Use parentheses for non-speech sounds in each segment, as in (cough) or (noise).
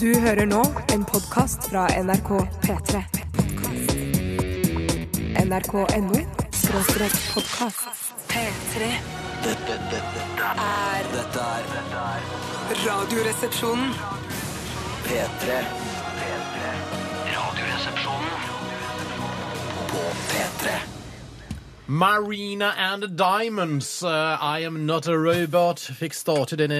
Du hører nå en podkast fra NRK P3. NRK.no skråstrek podkast. P3 Dette, dette, dette, er dette er dette er Radioresepsjonen. P3. P3. Radioresepsjonen på P3. Marina and the Diamonds, eh, I Am Not a Robot, fikk starte denne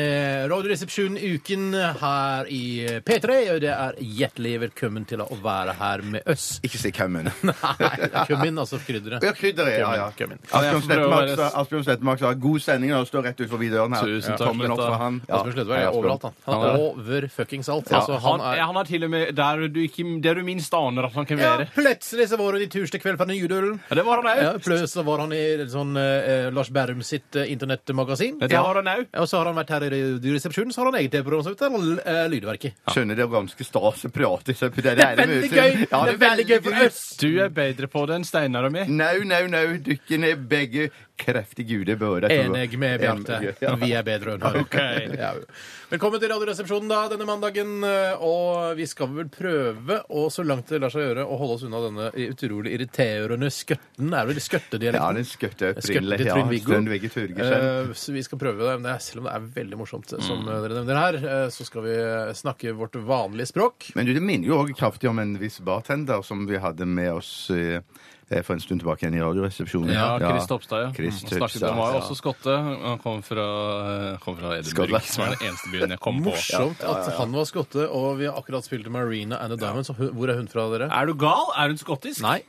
Radioresepsjonen-uken her i P3. Og det er hjertelig velkommen til å være her med oss. (laughs) Ikke si hvem hun Nei, kummin, altså krydderet. (laughs) Ja, krydderet. Ja, ja. Kummin, kummin. Asbjørn jeg får prøve Slettemark å være- sa- Asbjørn Slettemark sa god sending og står rett ut forbi døren her. Tusen takk, Tommel opp Sletta. fra han. Ja. Asbjørn Sledberg Hei, er Asbjørn. overalt, han. Han Ja. er over fuckings alt. Altså, Han, han er ja, han er til og med der du, ikke, der du minst aner at han kan ja, være. plutselig så var det de tusen kveld fra Nydølen. Ja, det var han òg. Ja, plutselig så var han i et sånn eh, Lars Berrum sitt eh, internettmagasin. Det Ja. var han òg. Og så har han vært her i Radioresepsjonen, så har han eget program som heter eh, Lydverket. Skjønner det er ganske stas å prate så på det Det er veldig gøy! det er veldig gøy for oss! Du er bedre på det enn Steinar og meg. Nau, nau, nau, dykke ned begge kreftige guder bør jeg tro. Enig med Bjarte. Ja. Vi er bedre (laughs) enn han. Ok. Ja. Velkommen til Radioresepsjonen da, denne mandagen. Og vi skal vel prøve, og så langt det lar seg gjøre, å holde oss unna denne utrolig irriterende skøtten. Er det vel Ja, skøttedialekten? den skøtte Skøtten opprinnelig. til Ja, Trond-Viggo. Trond-Viggo Torgersen. Eh, så vi skal prøve det. Men det er, selv om det er veldig morsomt, som dere nevner her, eh, så skal vi snakke vårt vanlige språk. Men du, det minner jo også kraftig om en viss bartender som vi hadde med oss eh, for en stund tilbake igjen i Radioresepsjonen. Ja, Chris Topstad, ja. Chris Han snakket Topstad, om meg. ja. Også skotte. Han kom fra, kom fra Skottland. Edinburgh, som er den eneste byen jeg kom på. Morsomt at han var skotte, og vi har akkurat spilt Marina and the Diamonds. Og hun- Hvor er hun fra, dere? Er du gal? Er hun skottisk? Nei.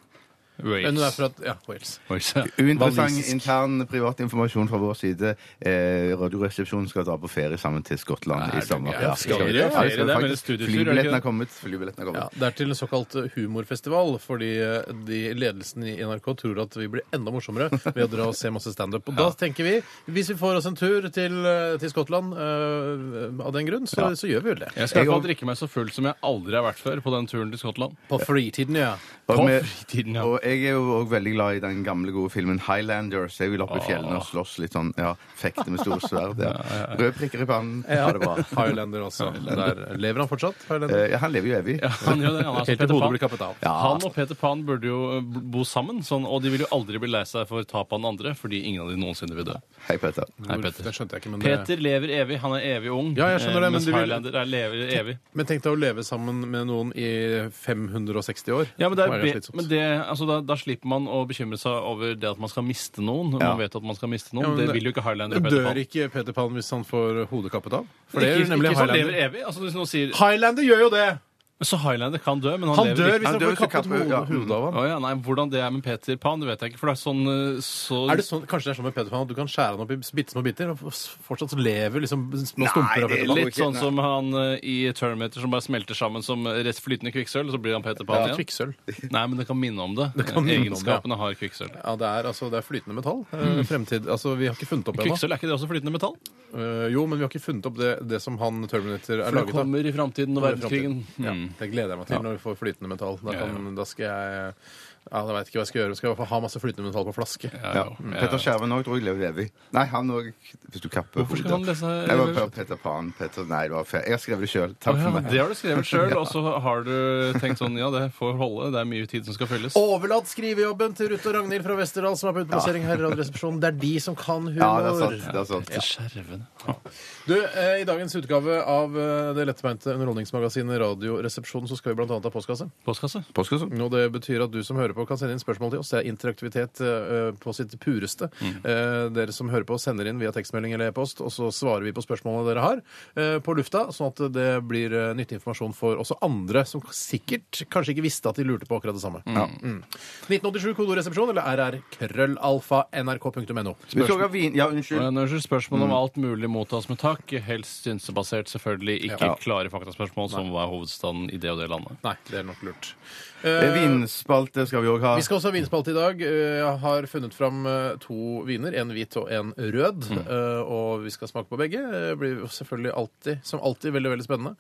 Hun er Wales. fra ja, Wales. Wales, ja. Uinteressant Walisisk. intern privat informasjon fra vår side. Eh, Radioresepsjonen skal dra på ferie sammen til Skottland i sommer. gæren? Skal dere Ja, ferie? skal Det er faktisk. vel en studietur, er det ikke Flybilletten det? er kommet. Flybilletten er Ja, kommet. det er til en såkalt eh, humorfestival, fordi eh, de ledelsen i NRK tror at vi blir enda morsommere ved å dra og se masse standup. Og da tenker vi, hvis vi får oss en tur til, eh, til Skottland eh, av den grunn, så, så gjør vi vel det. Jeg skal i hvert fall drikke meg så full som jeg aldri har vært før på den turen til (laughs) Skottland. På fritiden, ja. På Og, med, fritiden, ja. og jeg er jo også veldig glad i den gamle, gode filmen Highlander. Så jeg vil opp i fjellene og slåss litt sånn. Ja, fekte med store sverd. (laughs) Ja. Røde prikker i pannen. Ha det bra. Highlander også. Der lever han fortsatt? Highlander? Eh, han lever jo evig. Han, gjør det, han, er som Helt til Peter hodet Pan. blir kappet av. altså. han og Peter Pan burde jo eh, bo sammen, sånn, og de vil jo aldri bli lei seg for tap av den andre, fordi ingen av de noensinne vil dø. Hei, Peter. Nei, Hvor- Peter. Det skjønte jeg ikke, men, det, Peter lever evig. Han er evig ung. Ja, jeg skjønner det, eh, men mens du vil- Highlander er lever evig. eh, men tenk deg å leve sammen med noen i 560 år. Ja, men, det Må er, være be- slitsomt. men det, altså, da, da slipper man å bekymre seg over det at man skal miste noen. Man vet at man skal miste noen. Ja, men det det- vil jo ikke Highlander og Peter Dør Pan. ikke Peter Pan hvis han får hodet kappet av? For det Ikke- gjør nemlig ikke sånn lever Highlander. evig. Altså, hvis noen sier, Highlander gjør jo det! så Highlander kan dø, men han, Han lever dør ikke. hvis Han han dør får hvis det kappet kapper- ja. hodet hodet av ham. Å ja, nei, Hvordan det er med Peter Pan, det vet jeg ikke. For det er sånn eh, så Er det sånn, kanskje det er sånn med Peter Pan at du kan skjære han opp i bitte små biter, og f- fortsatt lever liksom små stumper av det er Peter Pan? Litt sånn som han eh, i Terminator som bare smelter sammen som rett flytende kvikksølv, og så blir han Peter Det er Pan igjen. Kvikksølv. Nei, men det kan minne om det. kan minne om det, ja. Egenskapene har kvikksølv. Ja, det er, altså, det er flytende metall. Eh, Fremtid Altså, vi har ikke funnet opp ennå. Mm. Kvikksølv, er ikke det også flytende metall? Eh, jo, men vi har ikke funnet opp det, det som han Terminator er For det laget av. kommer i framtiden og Kommer i framtiden. verdenskrigen. Mm. Det gleder jeg meg til når vi får flytende metall. Da, Ja, kan, da skal jeg ja, da veit ikke hva jeg skal gjøre. Jeg skal i hvert fall ha masse flytende metall på flaske. Ja, Ja. Mm. ja. Petter Skjerven òg tror jeg lever evig. Nei, han òg. Hvis du kapper Hvorfor skal han lese Jeg var på Peter Pan. Peter, nei, det var feil. Jeg har skrevet det sjøl. Takk Å ja, for meg. det har du skrevet (laughs) sjøl, og så har du tenkt sånn Ja, det får holde. Det er mye tid som skal fylles. Overlatt skrivejobben til Ruth og Ragnhild fra Westerdal, som er på utplassering her i Radioresepsjonen. Det er de som kan humor. Ja, det er sant. Det er sant. Til skjervene. Du, eh, I dagens utgave av eh, det lettbeinte underholdningsmagasinet Radioresepsjonen så skal vi bl.a. ha postkasse. Postkasse. Påskesson. Og Det betyr at du som hører på, kan sende inn spørsmål til oss. Det er interaktivitet eh, på sitt pureste. Eh, Dere som hører på, sender inn via tekstmelding eller e-post, og så svarer vi på spørsmålene dere har eh, på lufta, sånn at det blir eh, nyttig informasjon for også andre som sikkert kanskje ikke visste at de lurte på akkurat det samme. Ja. 1987 kodoresepsjon eller RR krøllalfa nrk.no. Vi tok av vin... Ja, unnskyld. Men unnskyld, Spørsmål om alt mulig mottas med takk. Helst synsebasert, selvfølgelig. Ikke klare faktaspørsmål som hva er hovedstaden i det og det landet. Nei, det er nok lurt. Eh, Vinspalte skal skal vi òg ha. Vi skal også ha vinspalte i dag. Eh, Jeg har funnet fram eh, to viner. En hvit og en rød. Mm. Eh, Og vi skal smake på begge. Det blir jo selvfølgelig alltid, som alltid, veldig veldig spennende.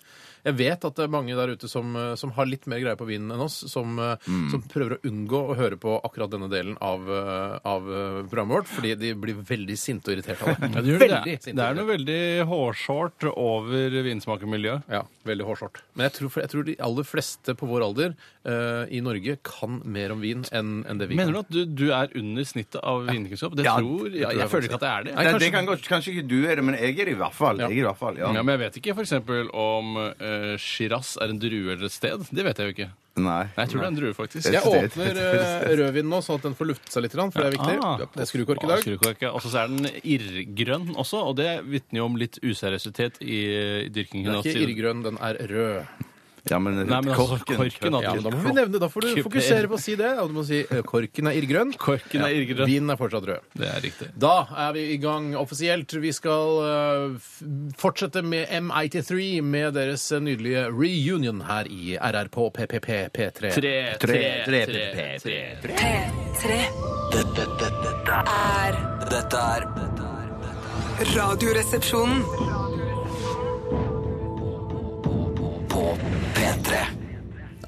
Jeg vet at det er mange der ute som, eh, som har litt mer greie på vinen enn oss, som, eh, Mm. som prøver å unngå å høre på akkurat denne delen av, eh, av eh, programmet vårt, fordi de blir veldig sinte og irriterte av det. (laughs) Ja, det, gjør det. Veldig Det er- sinte det er og noe veldig hårsårt over vinsmakermiljøet. Ja, veldig hårsårt. Men jeg tror, for jeg tror de aller fleste på vår alder eh, i Norge kan mer om vin enn enn det vi Mener kan. du at du, du er under snittet av vinkunnskap? Det Ja, tror det tror ja, Jeg jeg føler ikke at jeg er det. Nei, Nei, kanskje- det kan godt, Kanskje ikke du er det, men jeg er det i hvert fall. Jeg er det i hvert fall, ja. Ja, men jeg vet ikke f.eks. om eh, Shiraz er en drue eller et sted. Det vet jeg jo ikke. Nei. Nei, jeg tror det er en drue, faktisk. Jeg Jeg synes det er et åpner veldig eh, rødvinen nå, sånn at den får luftet seg litt, grann, for det er viktig. Ah. Det er skrukork i Ah, dag. skrukork, ja. Og så er den irrgrønn også, og det vitner jo om litt useriøsitet i, i dyrkingen. Den er av ikke sider. irrgrønn, den er rød. Ja, men, Nei, men altså, korken, Ja, men Da må at vi nevne, da får du Kuper. fokusere på å si det. Og du må si eh, korken er irrgrønn, korken er irrgrønn. vinen er fortsatt rød. Det er riktig. Da er vi i gang offisielt. Vi skal eh, f- fortsette med M83 med deres nydelige reunion her i RR på PPP P3. Tre, tre, tre, tre, tre. P3 Dette, dette, dette, er- er dette er dette er- dette Radioresepsjonen. er På P3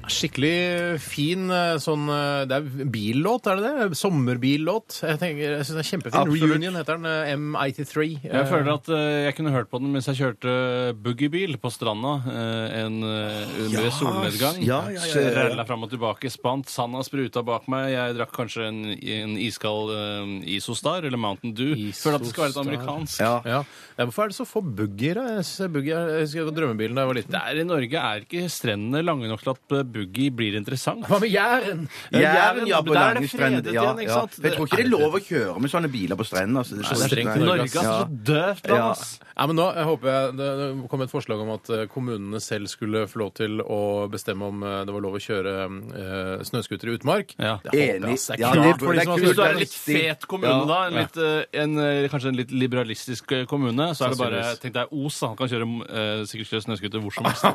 Skikkelig fin eh, sånn eh, Det er billåt, er det det? Sommerbillåt. Jeg, tenker, jeg synes det er kjempefin. Absolutt. Reunion heter den. eh, M83. Jeg føler at eh, jeg kunne hørt på den mens jeg kjørte boogiebil på stranda eh, en, eh, ved solnedgang. ja, ja, ja, ja. Rella fram og tilbake, spant, sanda spruta bak meg. Jeg drakk kanskje en, en iskald eh, Isostar eller Mountain Dew. Føler at det skal være litt Isostar. amerikansk. Ja. Ja. ja. Hvorfor er det så få buggier? da? Jeg synes buggy er- jeg husker drømmebilen da jeg var liten. Der i Norge er ikke strendene lange nok til at eh, boogie blir interessant. Hva med Jæren? Jæren, ja, men på der er det lange fredet strender. Ja, igjen, ikke ja. sant? Jeg tror ikke det er lov å køre med sånne biler på strendene. Altså. Det er så- Strengt i Nei. Norge, altså. Ja. Så døvt, Ja. ass. Ja, men nå jeg håper jeg Det det kom et forslag om at eh, kommunene selv skulle få lov til å bestemme om eh, det var lov å køre eh, snøscooter i utmark. Ja. håper jeg, Enig. ass. Det er Ja, kult det er for de det er som har kult. Hvis du Det er er en litt riktig. fet kommune, Ja. da, en litt, eh, en, eh, kanskje en litt liberalistisk eh, kommune, så er det bare Sannsynligvis. Tenk deg Os, da. han kan kjøre eh, sikkert kjøre snøscooter hvor (laughs) som helst.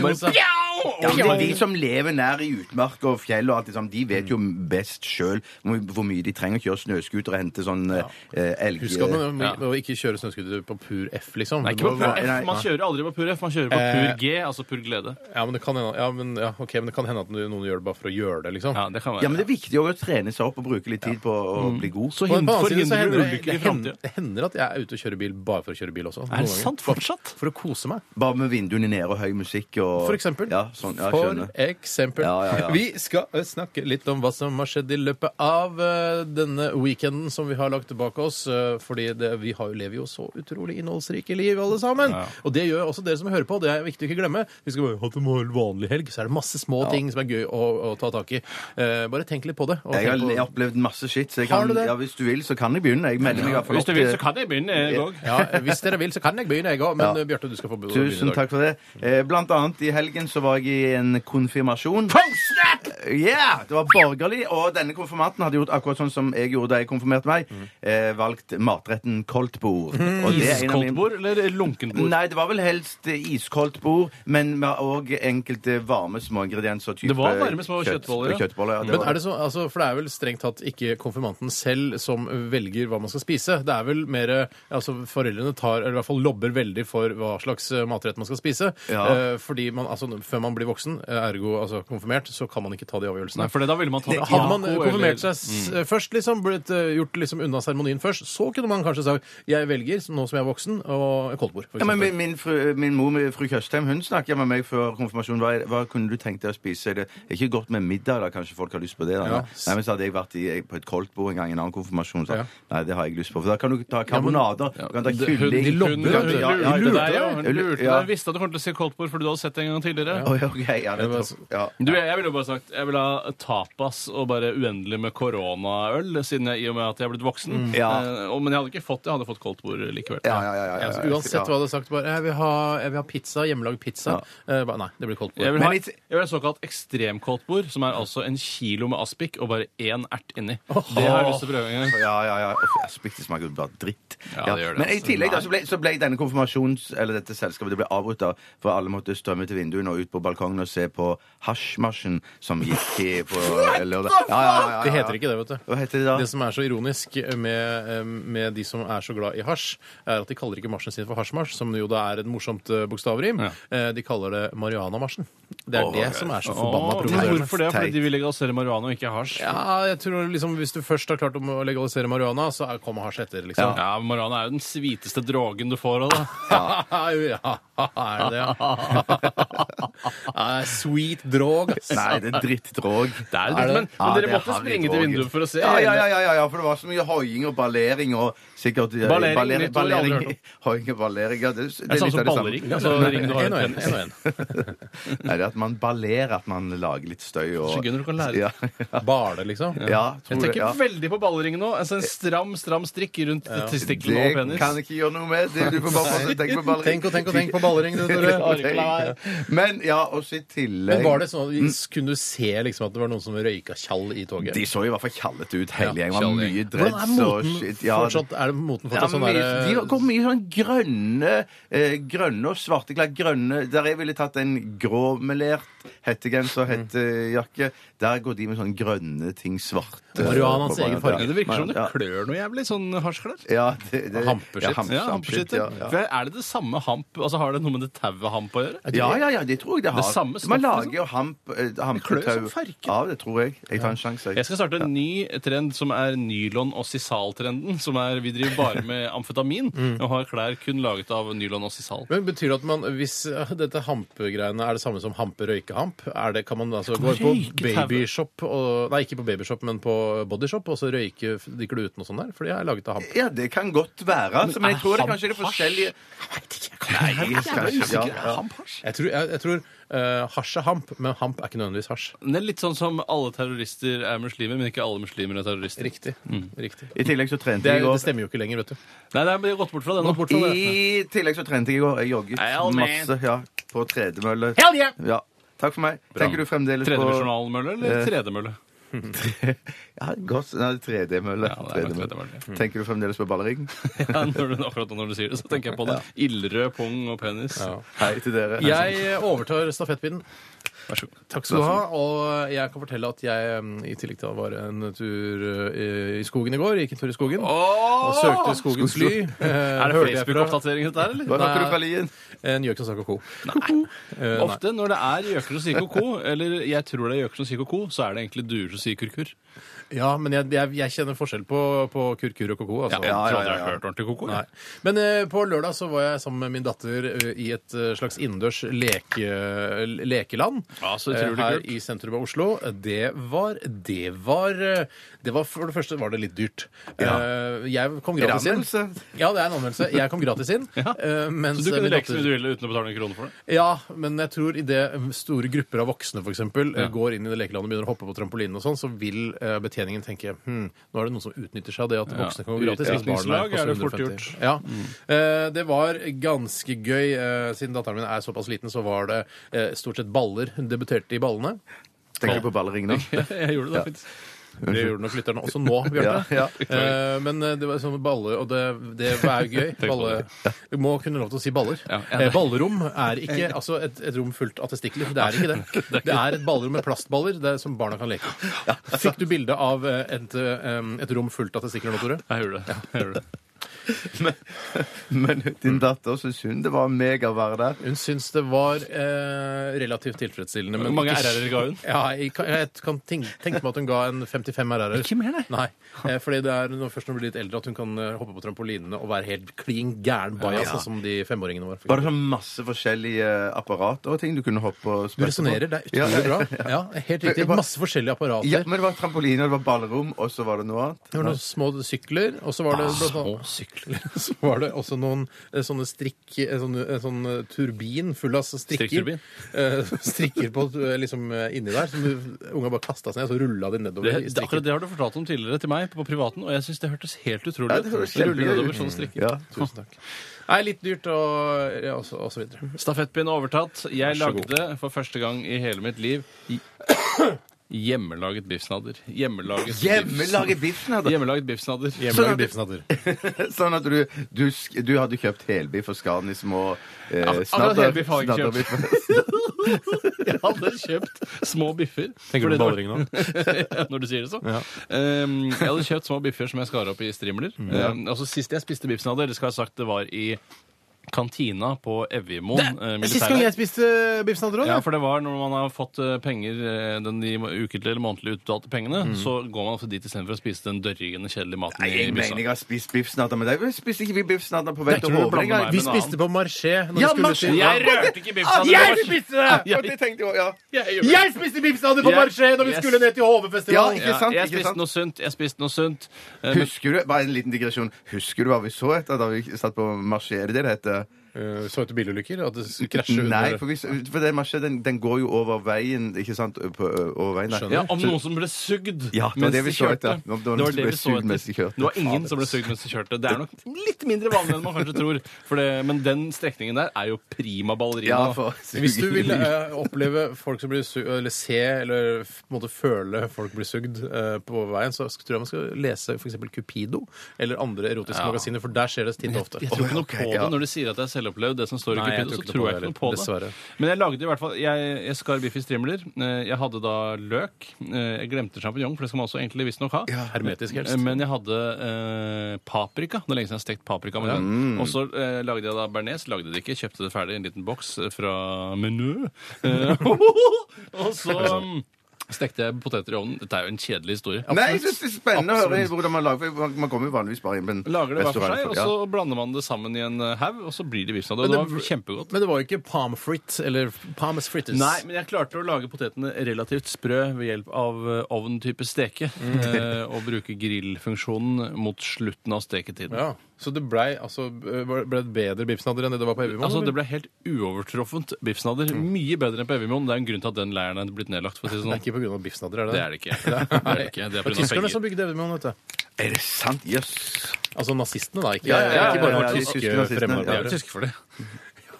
Jo, så- Ja, men det er de som lever nær i utmark og fjell, og alt det sånn, de vet jo best sjøl hvor, hvor mye de trenger å kjøre snøscooter og hente sånn eh, eh, elg... Husk at man Ja. må må ikke kjøre snøscooter på pur F, liksom. Nei, Det ikke på må- pur nei, F. nei. Man kjører aldri på pur F, man kjører på Eh. pur G, altså pur glede. ja, men det kan hende, ja, men, ja, ok, men det kan hende at noen gjør det bare for å gjøre det, liksom. Ja, det kan være. Ja, men det er viktig også å trene seg opp og bruke litt tid på å bli god. Mm. Så På den annen hin- side så forhindrer du hender det, ulykker det, i hender, framtida. det hender at jeg er ute og kjører bil bare for å kjøre bil også. noen Er det ganger. sant fortsatt? For å kose meg. Bare med vinduene nede og høy musikk og For eksempel. Ja, sånn, ja, jeg for skjønner. eksempel. Ja, ja, ja. Vi skal eh, snakke litt om hva som har skjedd i løpet av eh, denne weekenden som vi har lagt bak oss. eh, fordi det, vi har, lever jo så utrolig innholdsrike liv, alle sammen. Og det gjør også dere som hører på. Det er viktig å ikke glemme. Vi skal bare ha en helt vanlig helg, så er det masse små ting som er gøy å, å ta tak i. Eh, bare tenk litt på det. og Jeg har, tenk på- jeg har opplevd masse shit, så jeg Har kan, du det? ja, hvis du vil, så kan jeg begynne. Jeg melder meg i hvert fall Hvis opp. du vil, til- så kan jeg begynne, jeg òg. ja, hvis dere vil, så kan jeg begynne, jeg òg. Men Ja. eh, Bjarte, du skal få begynne. i Tusen dag. takk for det. Eh, Blant annet i helgen så var jeg i en konfirmasjon. Yeah! Det var borgerlig, og denne konfirmanten hadde gjort akkurat sånn som jeg gjorde da jeg konfirmerte meg. Mm. Eh, valgt matretten koldtbord. Mm. Og det er en av mine- Iskoldt bord eller lunkenbord? Nei, det var vel helst eh, iskoldt bord, men med òg enkelte varme små ingredienser. Type Det var varme små kjøttboller, ja. kjøttboller ja, det Men var er det så, altså, for det er vel strengt tatt ikke konfirmanten selv som velger hva man skal spise. Det er vel mer eh, altså Foreldrene tar, eller i hvert fall lobber veldig for hva slags eh, matrett man skal spise. Ja. Eh, fordi man, altså, før man blir voksen, eh, ergo altså, konfirmert, så kan man ikke ta de avgjørelsene. Nei, for det, da ville man tatt Hadde man eh, taco eller- konfirmert seg s- Mm. først, liksom, blitt, eh, gjort liksom unna seremonien først, så kunne man kanskje sagt jeg velger, nå som jeg er voksen, og koldtbord. for Ja, men eksempel. min, min, fru, min mor, med fru Tjøstheim, hun snakket med meg før konfirmasjonen. Hva, hva kunne du tenkt deg å spise? Det er ikke godt med middag, da. Kanskje folk har lyst på det? Da. Ja. Nei, men så hadde jeg vært i, på et koldtbord en gang i en annen konfirmasjon. Så. Ja. Nei, det har jeg ikke lyst på. For da kan du ta karbonader, du kan ta det- hun- kylling de lobber, Hun, hun, ja, hun, ja, lurte ja, deg, ja. ja. hun lurte Ja. deg. Visste at du kom til å si koldtbord fordi du hadde sett det en gang tidligere. Oi, ok, ja, det Det var tror- så- ja. Du, jeg ville jo bare sagt jeg vil ha tapas og bare uendelig med koronaøl, siden jeg, i og med at jeg er blitt voksen. Mm. Ja. Eh, og, men jeg hadde ikke fått det. Jeg hadde fått koldtbord likevel. Ja, ja, ja, ja, ja, Altså, ja. uansett hva du hadde sagt, bare «Eh, jeg vil ha, jeg vil ha pizza, hjemmelagd pizza. Eh, bare, nei, det blir koldtbord. Jeg vil ha, Men jeg litt- vil ha såkalt ekstremkoldtbord, som er altså en kilo med aspik og bare én ert inni. Åh. Det har jeg lyst til å prøve en gang. Ja, ja, ja. Uff, aspik, det smaker jo bare dritt. Ja, det gjør det, Men i altså. tillegg da, så, ble, så ble denne konfirmasjons... Eller dette selskapet det ble avbrutt av, for alle måtte strømme til vinduene og ut på på balkongen og se på hasjmarsjen som gikk i (laughs) på lørdag. Ja, ja, ja, Det heter ikke det, vet du. Hva heter det da? Det som er så ironisk med, eh, med de som er så glad i hasj, er at de kaller ikke marsjen sin for hasjmarsj, som jo da er et morsomt eh, bokstavrim. Ja. Eh, De kaller det marihuanamarsjen. Det er Åh, det som er så forbanna Åh, men provoserende. hvorfor det? Fordi Teit. de vil legalisere marihuana og ikke hasj? Ja, jeg tror liksom Hvis du først har klart om å legalisere marihuana, så er- kommer hasj etter, liksom. Ja, marihuana er jo den sviteste drogen du får av det. (laughs) ja, er det det? (laughs) ja? Sweet drog, ass. Nei, det er drittdrog. Det er jo Er det- det, men, Ja, men det dere har måtte vi sprenge til drogen. vinduet for å se. Ja, ja, ja, ja, ja, for det var så mye hoiing og ballering og sikkert eh, Ballering, baller- nytt ord jeg aldri ballering- hørt om. Hoiing og ballering, ja, det, det, Det er sånn litt som av det samme. ballering. (laughs) Altså, ring du har En og en, en en og en. Nei, det er at man ballerer, at man lager litt støy og Så gøy når du kan lære. Ja, ja, Bale, liksom. (laughs) ja Jeg tror det. tenker Ja. veldig på balleringen nå. Altså en stram, stram strikk rundt testiklene og Det penis. kan jeg ikke gjøre noe med. Det, du får bare fortsette å tenke på ballering. Tenk og tenk og tenk på ballering, (laughs) du, (laughs) Orker Tore. ikke la være. Men ja, også i tillegg Men var det sånn Mm. at vi Kunne du se liksom at det var noen som røyka tjall i toget? De så i hvert fall kallet ut, hele Ja, gjengen. var tjall, Mye ja. dreads Hvordan og er moten shit. Ja, fortsatt? Er det moten Ja, fortsatt sånn mye, de derre har kommet mye sånn grønne eh, Grønne og svarte klær. Grønne Der jeg ville tatt en gråmelert hettegenser og hettejakke. Der går de med sånne grønne ting. Svarte Marihuanas på- egen farge. Men Det virker som det Ja. klør noe jævlig, sånn hasjklær. Ja, det, det, Hampeskit. Ja, hamp, Ja, hampeskit, hampeskittet. ja, ja. For Er det det samme hamp? Altså Har det noe med det tauet hamp å gjøre? Ja, ja, ja, det tror jeg det har. Det samme stoffet, Man liksom? lager jo hamp, eh, klør som hampetau farken. av det, tror jeg. Jeg tar en sjanse. Jeg skal starte en ny trend som er nylon- og sisal-trenden. Som er Vi driver bare med (laughs) amfetamin Mm. og har klær kun laget av nylon og sisal. men betyr det at man, hvis eh, dette hampegreiene er det samme som hampe-røykehamp? Er det, kan man altså gå på røyke tau? babyshop og Nei, ikke på babyshop, men på bodyshop, og så røyke f- de klutene og sånn der? For de er laget av hamp. Ja, det kan godt være. Altså, men jeg tror det kanskje er det forskjellige Nei, jeg skal ikke- ja, ja. Jeg tror, jeg, jeg tror eh, hasj er hamp, men hamp er ikke nødvendigvis hasj. Det er litt sånn som alle terrorister er muslimer, men ikke alle muslimer er terrorister. Riktig. Riktig. Mm. I tillegg så trente Det, jeg er, i går. det stemmer jo ikke lenger, vet du. Nei, det er jeg har gått bort fra det nå. I tillegg så trente jeg i går. Jeg jogget Hell, man. masse ja, på tredemølle. Hell yeah! Ja. Takk for meg. Tenker du fremdeles på Eh. Tredimensjonalmølle eller tredemølle? (laughs) Ja, godt. Nei, tredemølle. Ja, det er nok tredemølle, tredemølle. Tenker du fremdeles på (laughs) ballering? Ja, når du, akkurat når du sier det, så tenker jeg på det. Ildrød pung og penis. Hei til dere. Jeg overtar stafettpinnen. Vær så god. Takk skal du ha. Og jeg kan fortelle at jeg, mm, i tillegg til å være en tur eh, i skogen i går, gikk en tur i skogen og søkte skogens Eh, ly. (laughs) Eh, Er det Facebook-oppdatering dette her, eller? Hva hørte du Nei. fra Lien? En gjøk som sa ko-ko. Eh, nei. Ofte når det er gjøker som sier ko-ko, eller jeg tror det er gjøker som sier ko-ko, så er det egentlig duer som sier kurkur. Ja, men jeg, jeg, jeg kjenner forskjell på, på kurkur og ko-ko. Altså. Ja, Jeg ja, tror aldri jeg ja. har hørt ordentlig ko-ko. Nei. jeg. Men eh, på lørdag så var jeg sammen med min datter eh, i et eh, slags innendørs leke, le- lekeland Ja, så utrolig eh, her kult. i sentrum av Oslo. Det var Det var, eh, det var For det første var det litt dyrt. Eh, jeg kom gratis inn. Rammelse? Ja, det er en anmeldelse. Jeg kom gratis (laughs) inn. eh, mens Så du kunne min leke som datter- du ville uten å betale en krone for (laughs) det? ja, men jeg tror idet store grupper av voksne for eksempel, går inn i det lekelandet og begynner å hoppe på trampolinen, og sånn, så vil eh, betjeningen tenke hm, nå er det noen som utnytter seg av det at voksne kan gå gratis. hvis barna Utviklingslag er det på fort 750. gjort. Mm. Ja. Eh, det var ganske gøy. Eh, siden datteren min er såpass liten, så var det eh, stort sett baller. Hun debuterte i ballene. Tenker du på ballering (laughs) nå? Jeg gjorde det, faktisk. Det gjorde nok lytterne også nå, Bjarte. Ja, Eh, men eh, det var sånn balle, og det, det er gøy. Balle, du må kunne lov til å si baller. Ja, ja, Eh, Ballrom er ikke altså et, et rom fullt av testikler. Det er ikke det. Det er et ballrom med plastballer det er som barna kan leke. Fikk du bilde av eh, et, eh, et rom fullt av testikler nå, Tore? Jeg gjorde det. Jeg gjorde det. Men din datter syns hun det var mega å være der. Hun syns det var eh, relativt tilfredsstillende. men Hvor mange ikke- RR-er ga hun? Ja, jeg kan, jeg kan tenke, tenke meg at hun ga en 55 RR-er. Ikke mer, nei. Nei, eh, fordi det er når, først når hun blir litt eldre at hun kan eh, hoppe på trampolinene og være helt klin gæren bajas, Ja. sånn som de femåringene var. Var det sånn masse forskjellige eh, apparater og ting du kunne hoppe og Du spille resonnerer, det er utrolig bra. Ja, helt riktig. Masse forskjellige apparater. Ja, men det var trampoline, og det var ballrom, og så var det noe annet. Det var noen små sykler, og så var Ah, det blant annet- (laughs) Så var det også noen eh, sånne strikk eh, sånn, eh, sånn eh, turbin full av strikker. Strikkturbin? Eh, (laughs) strikker på eh, liksom eh, inni der, som du- unga bare kasta seg ned, og så rulla de Det, nedover. i det, akkurat strikken. det har du fortalt om tidligere til meg på privaten, og jeg syns det hørtes helt utrolig Ja, ut. det høres Rulle kjempegøy nedover sånn ut. sånne strikker. Ja. Tusen takk. Nei, litt dyrt og, ja, og, så, og så videre. Stafettpinnen overtatt. Jeg Vær så god. lagde for første gang i hele mitt liv i- (coughs) hjemmelaget biffsnadder. Hjemmelaget biffs- Hjemmelaget biffen hadde Hjemmelaget biffsnadder. Hjemmelaget biffsnadder. (laughs) Sånn at du, du, sk- du hadde kjøpt helbiff og skar den i små eh, Ak- akkurat altså, helbiff har jeg ikke (laughs) snadderbiffer. (laughs) Jeg hadde kjøpt små biffer. Tenker fordi du på det var- (laughs) Eh, ballring nå? Ja, Når du sier det så. Ja. Ehm, jeg hadde kjøpt små biffer som jeg skar opp i strimler. Mm. Ehm, altså Sist jeg spiste biffsen av det, eller skal jeg ha sagt det var i kantina på Evjemoen eh, Sist gang militærleir. jeg spiste biff snadderud? Ja, for det var når man har fått eh, penger, eh, den de ukentlig eller månedlig utbetalte pengene, så går man ofte dit istedenfor å spise den dørrigende, kjedelige maten Mm. Nei, jeg i mener bussa. jeg har spist biffsnadder, men det spiste ikke vi biffsnadder på vei Jeg til tror du Hovring. blander meg Vi med en annen. spiste på Marché. når vi Ja, skulle Marché! til- Jeg rørte ikke biffsen. det Eh, var- Ah, Jeg spiste det! Akkurat det tenkte jeg også, ja. Jeg spiste biffsnadder på Ja. Marché når vi Yes. skulle ned til Ja, HV-festivalen! ikke sant? jeg Ikke spiste sant? noe sunt. Jeg spiste noe sunt. Eh, men- Husker du, bare en liten digresjon, husker du hva vi så etter da vi satt på marsjer? Det det heter Eh, Så etter bilulykker at det s- krasjer Nei, under for, vi, for den marsjer den, den går jo over veien, ikke sant? På, over veien der. Skjønner. Ja, om noen som ble sugd Ja, det var mens det vi de så kjørte. etter. Det var noen som ble sugd mens de kjørte. altså. Det var ingen som ble sugd mens de kjørte. Det er nok litt mindre vanlig enn man kanskje tror. For det, men den strekningen der er jo prima ballerina. Ja, for- Hvis du vil eh, oppleve folk som blir sugd, eller se eller f- på en måte føle folk blir sugd eh, på veien, så sk- tror jeg man skal lese f.eks. Cupido eller andre erotiske Ja. magasiner, for der skjer det titt og ofte. Jeg tror ikke noe ok, på ja. det når du sier at det er selvopplevd. det som står i Nei, jeg Cupido, tror så ikke tror noe på jeg det ikke noe på det. heller, dessverre. Men jeg lagde i hvert fall Jeg, jeg skar biff i strimler. Eh, Jeg hadde da løk. Eh, Jeg glemte sjampinjong, for det skal man også egentlig visstnok ha. Hermetisk helst. Eh, Men jeg hadde eh, paprika. Det er lenge siden jeg har stekt paprika. Mm. med den. Og så eh, lagde jeg da bearnés. Lagde det ikke, kjøpte det ferdig i en liten boks eh, fra Menu. Eh, (laughs) og så mm, stekte jeg poteter i ovnen. Dette er jo en kjedelig historie. Nei, jeg synes det er spennende å høre hvordan man lager for Man kommer jo vanligvis bare inn på en Lager det hver for restaurant, seg, og ja. så blander man det sammen i en eh, haug, og så blir det biffsnadder. Men Det det- var kjempegodt. Men det var jo ikke palm frit eller palmes frites. Nei, men jeg klarte å lage potetene relativt sprø ved hjelp av eh, ovntype steke. (laughs) Mm. eh, og bruke grillfunksjonen mot slutten av steketiden. Ja, Så det blei altså, ble det bedre biffsnadder enn det det var på Evjemoen? Altså, Det eller? ble helt uovertroffent biffsnadder. Mye bedre enn på Evjemoen. Det er en grunn til at den leiren er blitt nedlagt. for å si det (laughs) Det er sånn. ikke pga. biffsnadder, er (laughs) det Det er det ikke. Det er det ikke. Det er Det var pga. tyskerne som penger. bygde Evjemoen, vet du. Er det sant? Jøss. Altså nazistene, da. Ikke, Ja, ja, ja, ikke bare ja, ja, noen de tyske tyske nazistene, Ja, ja. de er fremmedarbeidere. tyske for det.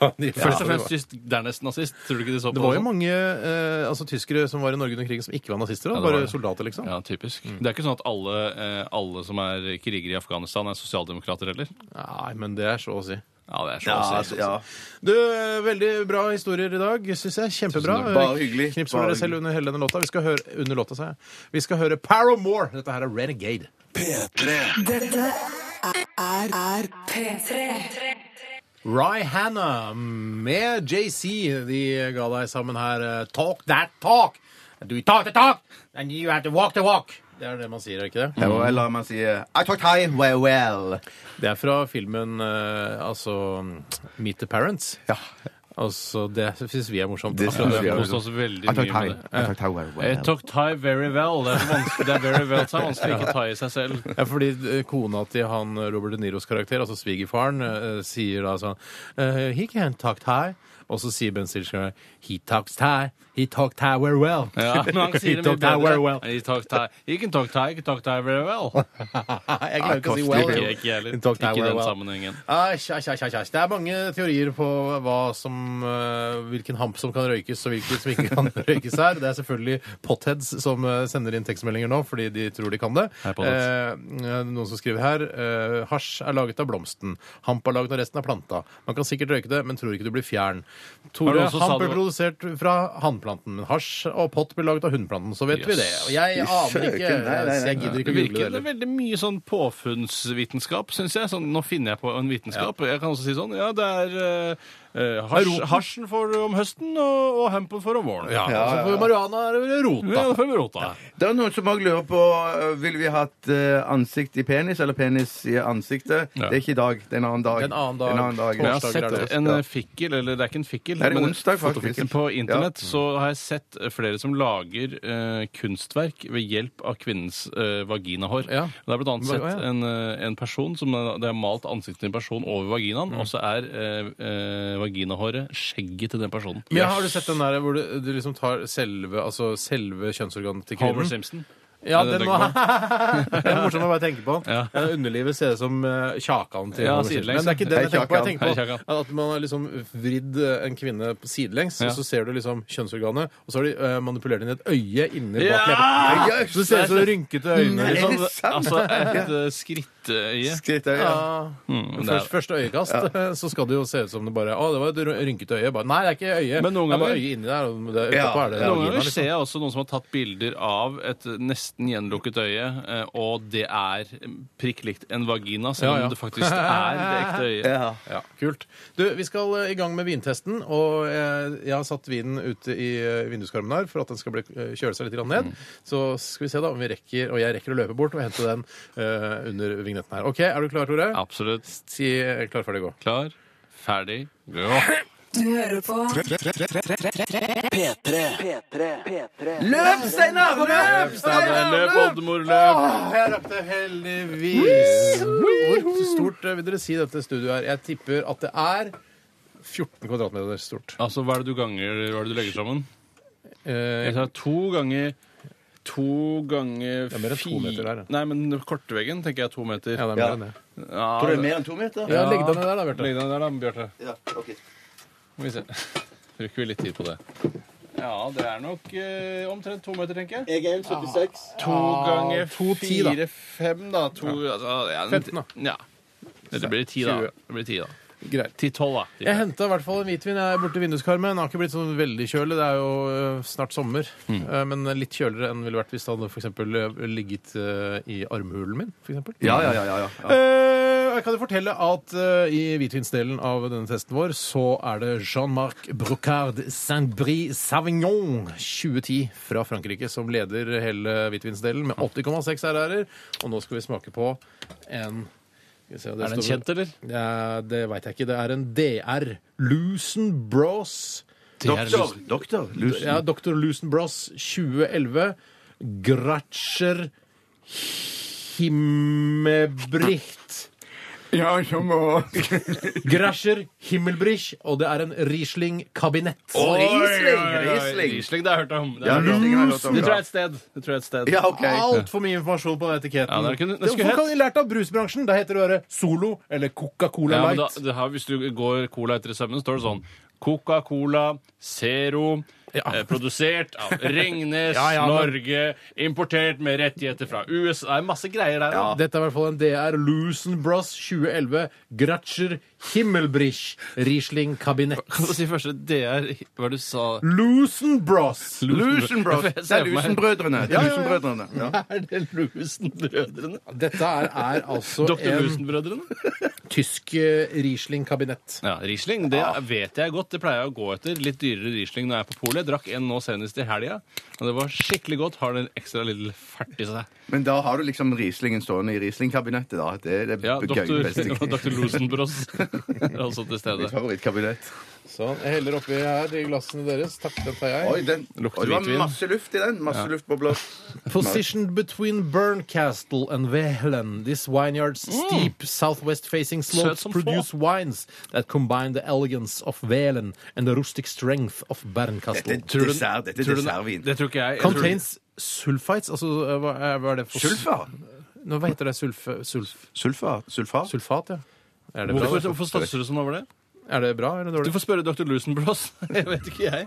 De- Ja, det Først og var- fremst tysk, dernest nazist. Tror du ikke de så på Det var jo sånn? mange eh, altså, tyskere som var i Norge under krigen, som ikke var nazister. Da. Ja, det var bare det. soldater, liksom. Ja, typisk. Det er ikke sånn at alle, eh, alle som er krigere i Afghanistan, er sosialdemokrater heller. Nei, men det er så å si. Ja, det er så Ja, å si. altså, ja. Du, eh, Veldig bra historier i dag, syns jeg. Kjempebra. takk. Tusen Bare hyggelig. Knips Bare med dere selv under hele denne låta. Vi skal høre, under låta, sa jeg. Vi skal høre Paramore. Dette her er Renegade. P3 Dette er, er P3. Rihanna med JC. De ga deg sammen her eh, Talk that talk. Do you talk the talk, and you have to walk the walk. Det er det man sier, er det ikke det? Ja, og Eller man sier eh, I talk Thai well well. Det er fra filmen eh, altså Meet the Parents. Ja. Altså, det syns vi liksom- er morsomt. Det Akkurat synes det. vi er Koste oss veldig I talk mye Thai. med det. I talk Thai well Jeg well. tok Thai very well. Det er, vanskelig, det er very well, så det er vanskelig å ikke ta i seg selv. Ja, fordi eh, kona til han eh, Robert De Niros karakter, altså svigerfaren, eh, sier da sånn eh, He can't talk Thai. Og så sier Ben Stiller He talks Thai. He talk Thai very well. (laughs) Ja, men han sier He det mye talk Thai very bedre. well. He talk Thai. He can talk Thai, he can talk Thai very well. (laughs) jeg klarer ikke å si koselig. well. Ikke jeg ikke heller. He talk Ikke Thai i very den well. sammenhengen. Æsj, æsj, æsj, æsj, æsj. Det er mange teorier på hva som, eh, hvilken hamp som kan røykes, og hvilken som ikke kan (laughs) røykes her. Det er selvfølgelig potheads som eh, sender inn tekstmeldinger nå fordi de tror de kan det. Hei, eh, potheads. noen som skriver her eh, hasj er laget av blomsten. Hamp er laget av resten av planta. Man kan sikkert røyke det, men tror ikke du blir fjern. Var det Tore, noen som sa hamp det er var- produsert fra hannplanten, men hasj og pott blir laget av hundplanten. Så vet vi det. Og jeg aner ikke. Søken, nei, nei, nei. så Jeg gidder Det ikke å google virker det heller. veldig mye sånn påfunnsvitenskap, syns jeg. Sånn, nå finner jeg på en vitenskap. Jeg kan også si sånn Ja, det er eh, hasj, Roten. hasjen for om høsten og, og hampen for om våren. Ja, Ja, altså, ja, ja. for marihuana er det rota. Ja, det får vi rota. Det er noen som også lurer på øh, Vil vi hatt øh, ansikt i penis eller penis i ansiktet. Ja. Det er ikke i dag. Det er en annen dag. Det er en annen dag. En annen dag. Men jeg Torsdager er har det sett også, en ja. eh, fikkel, eller det er ikke en fikkel Nei, det er men onsdag, faktisk. fotofikkel. På internett så har jeg sett eh, flere som lager eh, kunstverk ved hjelp av kvinnens eh, vaginahår. Ja. Og Det er blant annet Hva- sett ja. en, eh, en person som eh, det er malt ansiktet til en person over vaginaen, Mm. og så er eh, eh, vaginahåret skjegget til den personen. Men har du sett den der hvor du, du liksom tar selve, altså selve kjønnsorganet til Homer kvinnen? Simpson. Ja, Er det den det må... (laughs) du det er morsomt å bare tenke på. Ja. Ja, Underlivet ser ut som eh, kjakan til liksom. Ja, Homer Simpson. sidelengs. Men det er ikke det jeg Hei, tenker på. Jeg Kjakan. tenker på at man har liksom vridd eh, en kvinne sidelengs, Ja. og så ser du liksom kjønnsorganet, og så har de eh, manipulert inn et øye inni Ja! bak leppa. Så det ser ut som rynkete øyne. Nei. Liksom. Er det sant? altså et eh, skrittøye. Skritt der, ja. Ja. Mm, det er- Først, første øyekast, (laughs) så skal det jo se ut som det bare Å, det var et ry- rynkete øye. Bare, nei, det er ikke øye. Men noen det er bare ganger- øyet inni der. Og det, Ja. utapå er det, Noen vagina, ganger liksom. ser jeg også noen som har tatt bilder av et nesten gjenlukket øye, eh, og det er prikk likt en vagina, selv om Ja, ja. det faktisk er det ekte øyet. Ja. (laughs) Ja, Kult. Du, vi skal eh, i gang med vintesten. Og eh, jeg har satt vinen ute i eh, vinduskarmen her for at den skal bli, eh, kjøle seg litt grann Mm. ned. Så skal vi se da om vi rekker, og jeg rekker å løpe bort og hente den eh, under vignetten her. OK, er du klar, Tore? Absolutt. Si eh, klar, ferdig, gå. Klar, ferdig, gå. Du hører på P3. P3. P3. Løp, Steinar! Løp, Steinar! Løp, oldemor, løp! Jeg rakk det heldigvis. Hvor stort eh, vil dere si dette studioet er? Jeg tipper at det er 14 kvadratmeter stort. Altså, hva er det du ganger, hva er det du legger sammen? Jeg Eh, tar to ganger To ganger er mer enn to fi- meter der, ja. Nei, men den korte veggen tenker jeg er to meter. ja, det er mer enn det. Ja, Tror du det er mer enn to meter? Ja, legg deg ned der, da, Bjarte. Legg deg der, da, Bjarte. Ja, ok. Må vi se. Bruker vi litt tid på det. Ja, det er nok eh, omtrent to meter, tenker jeg. Ah, Jeg er 1,76. To ganger ti, da. fire, fem, da. To, altså, ja, en- 15, da. Ja. Det blir ti, da. Tjue. Det blir ti, da. Greit. Ti-tolv, da. Ti. Jeg henta i hvert fall en hvitvin jeg er borti vinduskarmen. Den har ikke blitt sånn veldig kjølig. Det er jo øh, snart sommer. Eh, Men litt kjøligere enn det ville vært hvis det hadde for eksempel, øh, ligget øh, i armhulen min. For eksempel. Ja, ja, ja, ja, ja. Eh, Jeg kan jo fortelle at eh, i hvitvinsdelen av denne testen vår så er det Jean-Marc Brocard Saint-Brie Savignon 2010 fra Frankrike som leder hele hvitvinsdelen med 80,6 RR-er. Og nå skal vi smake på en skal vi se, Er den står- kjent, eller? Ja, det veit jeg ikke. Det er en DR. Lusen Bros. Doktor. Doktor. Lusen. Ja, Dr. Lusen Bros 2011. Gratscher Himmebricht. Ja, som å Grascher Himmelbrich, og det er en Riesling kabinett. Å, Riesling! Riesling. Riesling. Riesling, det har jeg hørt om. Det, Ja, har jeg hørt om. Riesling har jeg hørt om, det tror jeg ja. er et sted. Det tror jeg er et sted. Ja, OK. Altfor mye informasjon på den etiketten. Ja, det kunne- det skulle Hvorfor hett- kan de lært av brusbransjen? Da heter det bare Solo eller Coca-Cola Ja, men da, Light. det her, hvis du går cola etter i sømmen, står det sånn Coca-Cola, Zero, Ja. eh, produsert (laughs) av Ringnes, Ja, ja, men- Norge, importert med rettigheter fra USA. Det er masse greier der. altså. da. Dette er i hvert fall en DR Lusen Bros 2011 Gratscher Himmelbrich Riesling kabinett. Kan du si først at det er hva du sa Lusen Bros! Lusen, bro. (laughs) Jeg Det ser er for meg- Lusenbrødrene. Det er Lusenbrødrene. Ja. Er det Lusen-brødrene? Dette er, er altså Dr. en Lusen-brødrene? tysk eh, Riesling kabinett. Ja, Riesling det vet jeg godt. Det pleier jeg å gå etter. Litt dyrere Riesling når jeg er på polet. Jeg drakk en nå senest i helga, og det var skikkelig godt. Har den ekstra lille fert i seg. Men da har du liksom Rieslingen stående i Riesling-kabinettet, da. Det er det Ja, gøye doktor, beste. (laughs) doktor Lusenbross er også til Mitt stede. favorittkabinett. Sånn, Jeg heller oppi her i glassene deres. Takk, den tar jeg. Oi, den Lukter Oi, Det var hvitvin. masse luft i den. Masse luftbobler. Positioned between Berncastle and Vehlen, this vineyard's steep southwest-facing slopes som produce wines that combine the elegance of Vehlen and the rustic strength of Berncastle. Dette er dessert. Dette er Tror du den- dessertvin. Det tror ikke jeg. jeg tror- Contains sulfites, altså eh, hva er, hva er det for Sulfar? Nå, Hva heter det? Sulf, sulf, Sulfar? Sulfar? sulfat, ja. Er det, Hvorfor, bra? hvorfor stasser du sånn over det? er det bra eller Du dårlig? får spørre dr. Lusenbross. (laughs) Jeg vet ikke, jeg.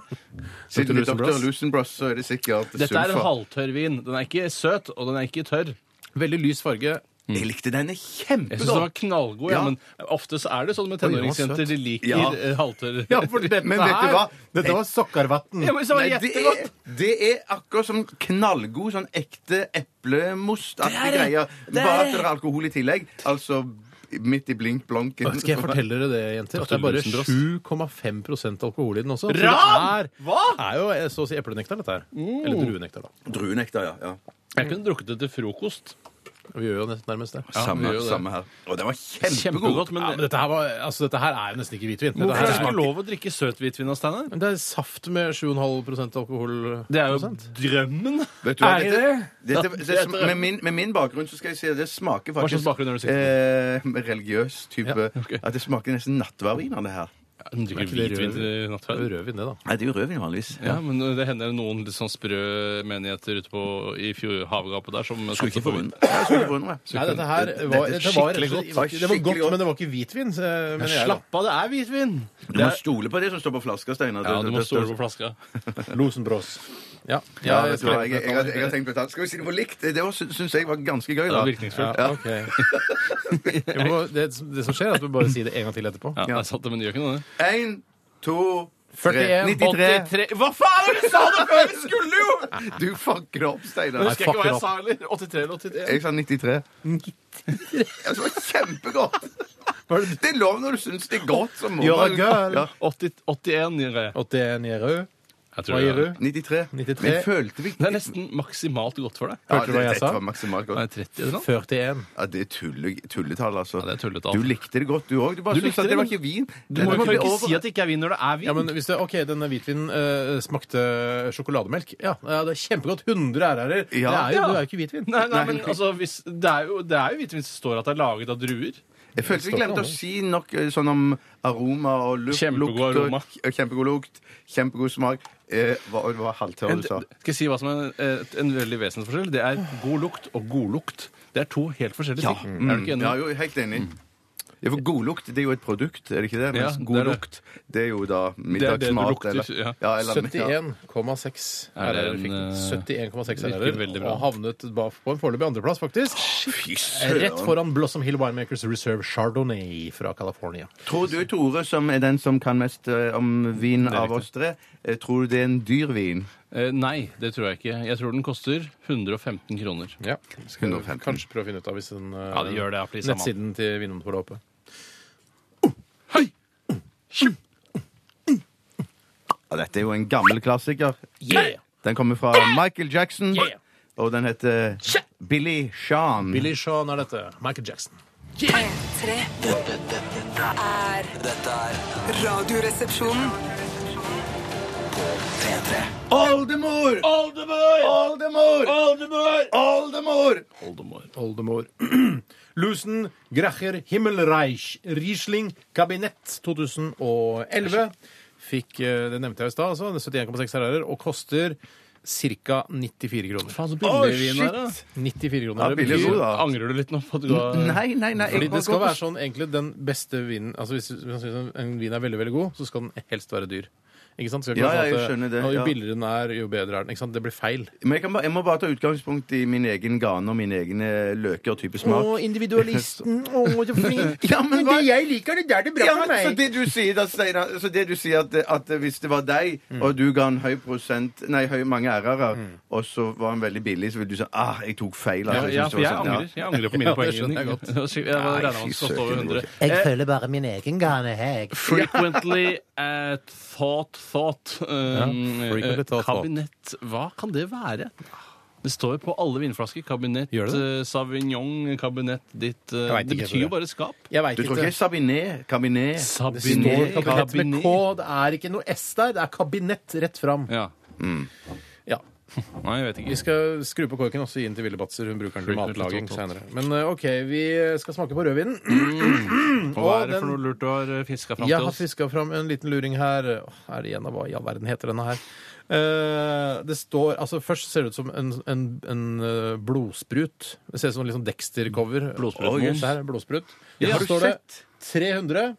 Siden det er Lusenbross. Dr. Lusenbross, så er det sikkert Dette er en sulfar. halvtørr vin. Den er ikke søt, og den er ikke tørr. Veldig lys farge. Jeg likte denne Jeg syns den var kjempegodt. knallgod, ja. Ja. men ofte så er det sånn med den var tenåringsjenter. søt. De liker Ja. eh, halvtørr (laughs) Men vet du hva? Dette var sokkervann. Ja, men så var Nei, det det, Jettegodt! er, det er akkurat som knallgod sånn ekte eplemost-aktig greie. Bare at det er alkohol i tillegg. Altså midt i blink blonken. Skal jeg fortelle dere det, jenter? At det er bare 7,5 alkohol i den også. Så det Ran! er- er jo eh, så å si eplenektar, dette her. Eller druenektar, da. Druenekter, ja. ja. Jeg kunne drukket det til frokost. Vi gjør jo nest- nærmest det. Samme, gjør jo det. samme her. Og den var kjempegod. Kjempegodt, men, Ja, men dette her, var, altså, dette her er jo nesten ikke hvitvin. Dette hvorfor her er det ikke smaker- lov å drikke søthvitvin av Steinar? Men det er saft med 7,5 alkohol. Det er jo prosent. drømmen. Vet du hva, Er det dette- dette- Ja, det det er som- drøm. Med min- med min bakgrunn så skal jeg si at det smaker Hva slags faktisk bakgrunn er du sikker på? eh, religiøs type. ok. At det smaker nesten nattverdvin av det her. Hun drikker ikke det hvitvin rødvin? til nattverd. Rødvin, det, da. Nei, det er jo rødvin vanligvis. Ja, men det hender noen litt sånn sprø menigheter ute på, i fjord- havgapet der som Skulle ikke satser på forundre ja, jeg skulle ikke forundre meg. Nei, dette her var, Dette- dette er dette var rett skikkelig og slett ikke- godt. Det var Skikkelig godt, godt. men det var ikke hvitvin. eh, mener jeg, da. Slapp av, det er hvitvin! Du må stole på det som står på flaska, Steinar. Ja, du må Det- det- stole på flaska. Rosenbrås. Ja. Ja, jeg vet du hva, skrev jeg, jeg, har- jeg har tenkt på det. Skal vi si det var likt? Det var- sy- syns jeg var ganske gøy, Det da. er virkningsfullt. Ja, ok. Vi må- Det, det som skjer, er at vi bare sier det en gang til etterpå. Ja, jeg satt det, men det gjør ikke noe, det. Én, to, tre 41, 93. 83 Hva faen er det du sa?! det før vi skulle jo! Du fucker opp, Jeg Steinar. husker ikke fucker opp. hva jeg sa heller. 83 eller 81. Jeg sa 93. Ja, det var kjempegodt! Det er lov når du syns det er godt. Så må You're a man- girl. Ja. 80, 81 gjør jeg. 81 gir rød. Jeg Hva det gir er- du? 93. 93. Men følte vi Det er nesten maksimalt godt for deg. Ja, Hørte du hva jeg det- sa? Dette var maksimalt Nei, godt. 30 eller noe? 41. Ja, det er tulle, tulletall, altså. Ja, det er tulletall. Du likte det godt, du òg. Du bare Du syntes likte at det det, var men- ikke vin. Du Det må var jo ikke over- si at det ikke er vin når det er vin. Ja, men hvis det, ok, denne hvitvinen eh, smakte sjokolademelk. Ja, ja, det er kjempegodt. 100 æreærer. Det Ja. er jo, Ja. du er jo ikke hvitvin. Nei, nei, men altså, hvis, det er jo, det er jo hvitvin som står at det er laget av druer. Jeg følte vi glemte å si nok eh, sånn om aroma og lukt. Kjempegod lukt og- aroma. k- Kjempegod lukt, kjempegod smak. Eh, hva, det var halvtørr En, du sa. skal jeg si hva som er en, en veldig vesensforskjell? Det er god lukt og godlukt. Det er to helt forskjellige ting. Er du ikke enig? Ja, jo, helt enig. Mm. Ja, for Godlukt det er jo et produkt, er det ikke det? Ja, Mens det er god det. lukt det er jo da det du middagsmat. lukter, eller- ja. Ja, eller- ja. 71,6 Er det RR en, fikk den. eh, 71,6 virker RR veldig bra. og havnet ba- på en foreløpig andreplass, faktisk. Fy Rett søren. foran Blossom Hill Winemakers Reserve Chardonnay fra California. Tror du, Tore, som er den som kan mest eh, om vin av oss tre, eh, tror du det er en dyr vin? Eh, nei, det tror jeg ikke. Jeg tror den koster 115 kroner. Ja, skal vi 115. kanskje prøve å finne ut av hvis den eh, Ja, det gjør det, ja, please, nettsiden til Vinmonopolet er oppe. Ja, dette er jo en gammel klassiker. Yeah! Den kommer fra Michael Jackson, Yeah. og den heter Billy Sean. Billy Sean er dette. Michael Jackson. P3 Dette, dette, er dette er Radioresepsjonen. P3. Oldemor! Oldemor! Oldemor! Oldemor! Oldemor! Oldemor. Oldemor. (clears throat) Lusen Gracher Himmelreich Riesling Kabinett 2011 fikk eh, Det nevnte jeg i stad, altså. den 71,6 RR og koster ca. 94 kroner. Faen, så Å, billig vin er, da. 94 kroner. Ja, Det billig betyr- god, da. Angrer du litt nå på at du har Nei, nei, nei. Fordi det skal være sånn egentlig den beste vinen altså Hvis hvis man synes en vin er veldig veldig god, så skal den helst være dyr. Ikke sant? Skal ikke Ja, være ja, sånn jeg at, skjønner det, «Å, Jo ja. billigere den er, jo bedre er den. Ikke sant? Det blir feil. Men jeg, kan bare, jeg må bare ta utgangspunkt i min egen gane og mine egne løker og type smak. individualisten. (laughs) Å, så flink. Ja, men hva- jeg liker, det der det er Ja, men, så det du sier, da, Steinar Så det du sier at, at hvis det var deg, Mm. og du ga en høy prosent Nei, høy mange ærer, og så var han veldig billig, så ville du si ah, jeg tok feil. Ja, altså, ja, synes det for var jeg sånn, ja. angrer. Jeg angrer på mine Ja, det poeng. skjønner jeg godt. (laughs) Jeg regner med at den skal stå over 100. (laughs) Jeg følger bare min egen gane, jeg. Frequently at thought thought. Um, Ja, frequently eh, thought thought. kabinett Hva kan det være? Det står jo på alle vinflasker. Kabinett Gjør det det? eh, Sauvignon, kabinett ditt eh, Jeg vet Det ikke, betyr Tore. jo bare skap. Jeg veit Du tror ikke. ikke Sabinet? Cabinet? Står Sabinet, kabinett med K. kabinet. Det er ikke noe S der. Det er kabinett rett fram. Ja. Ja. Nei, jeg vet Vi ikke. skal skru på korken også inn til Ville Batzer. Hun bruker den til Frequently matlaging thought, thought. senere. Men eh, OK, vi skal smake på rødvinen. Og hva Mm, Og er det for den- noe lurt du har eh, fiska fram Jeg til har oss? fiska fram en liten luring her. Åh, er det igjen av hva i all verden heter denne her? Eh, det står altså Først ser det ut som en, en, en eh, blodsprut. Det ser ut som en litt sånn Dexter-cover. Blodsprut, Åh, Mons. Der, blodsprut. Ja, Ja, har så du står det 300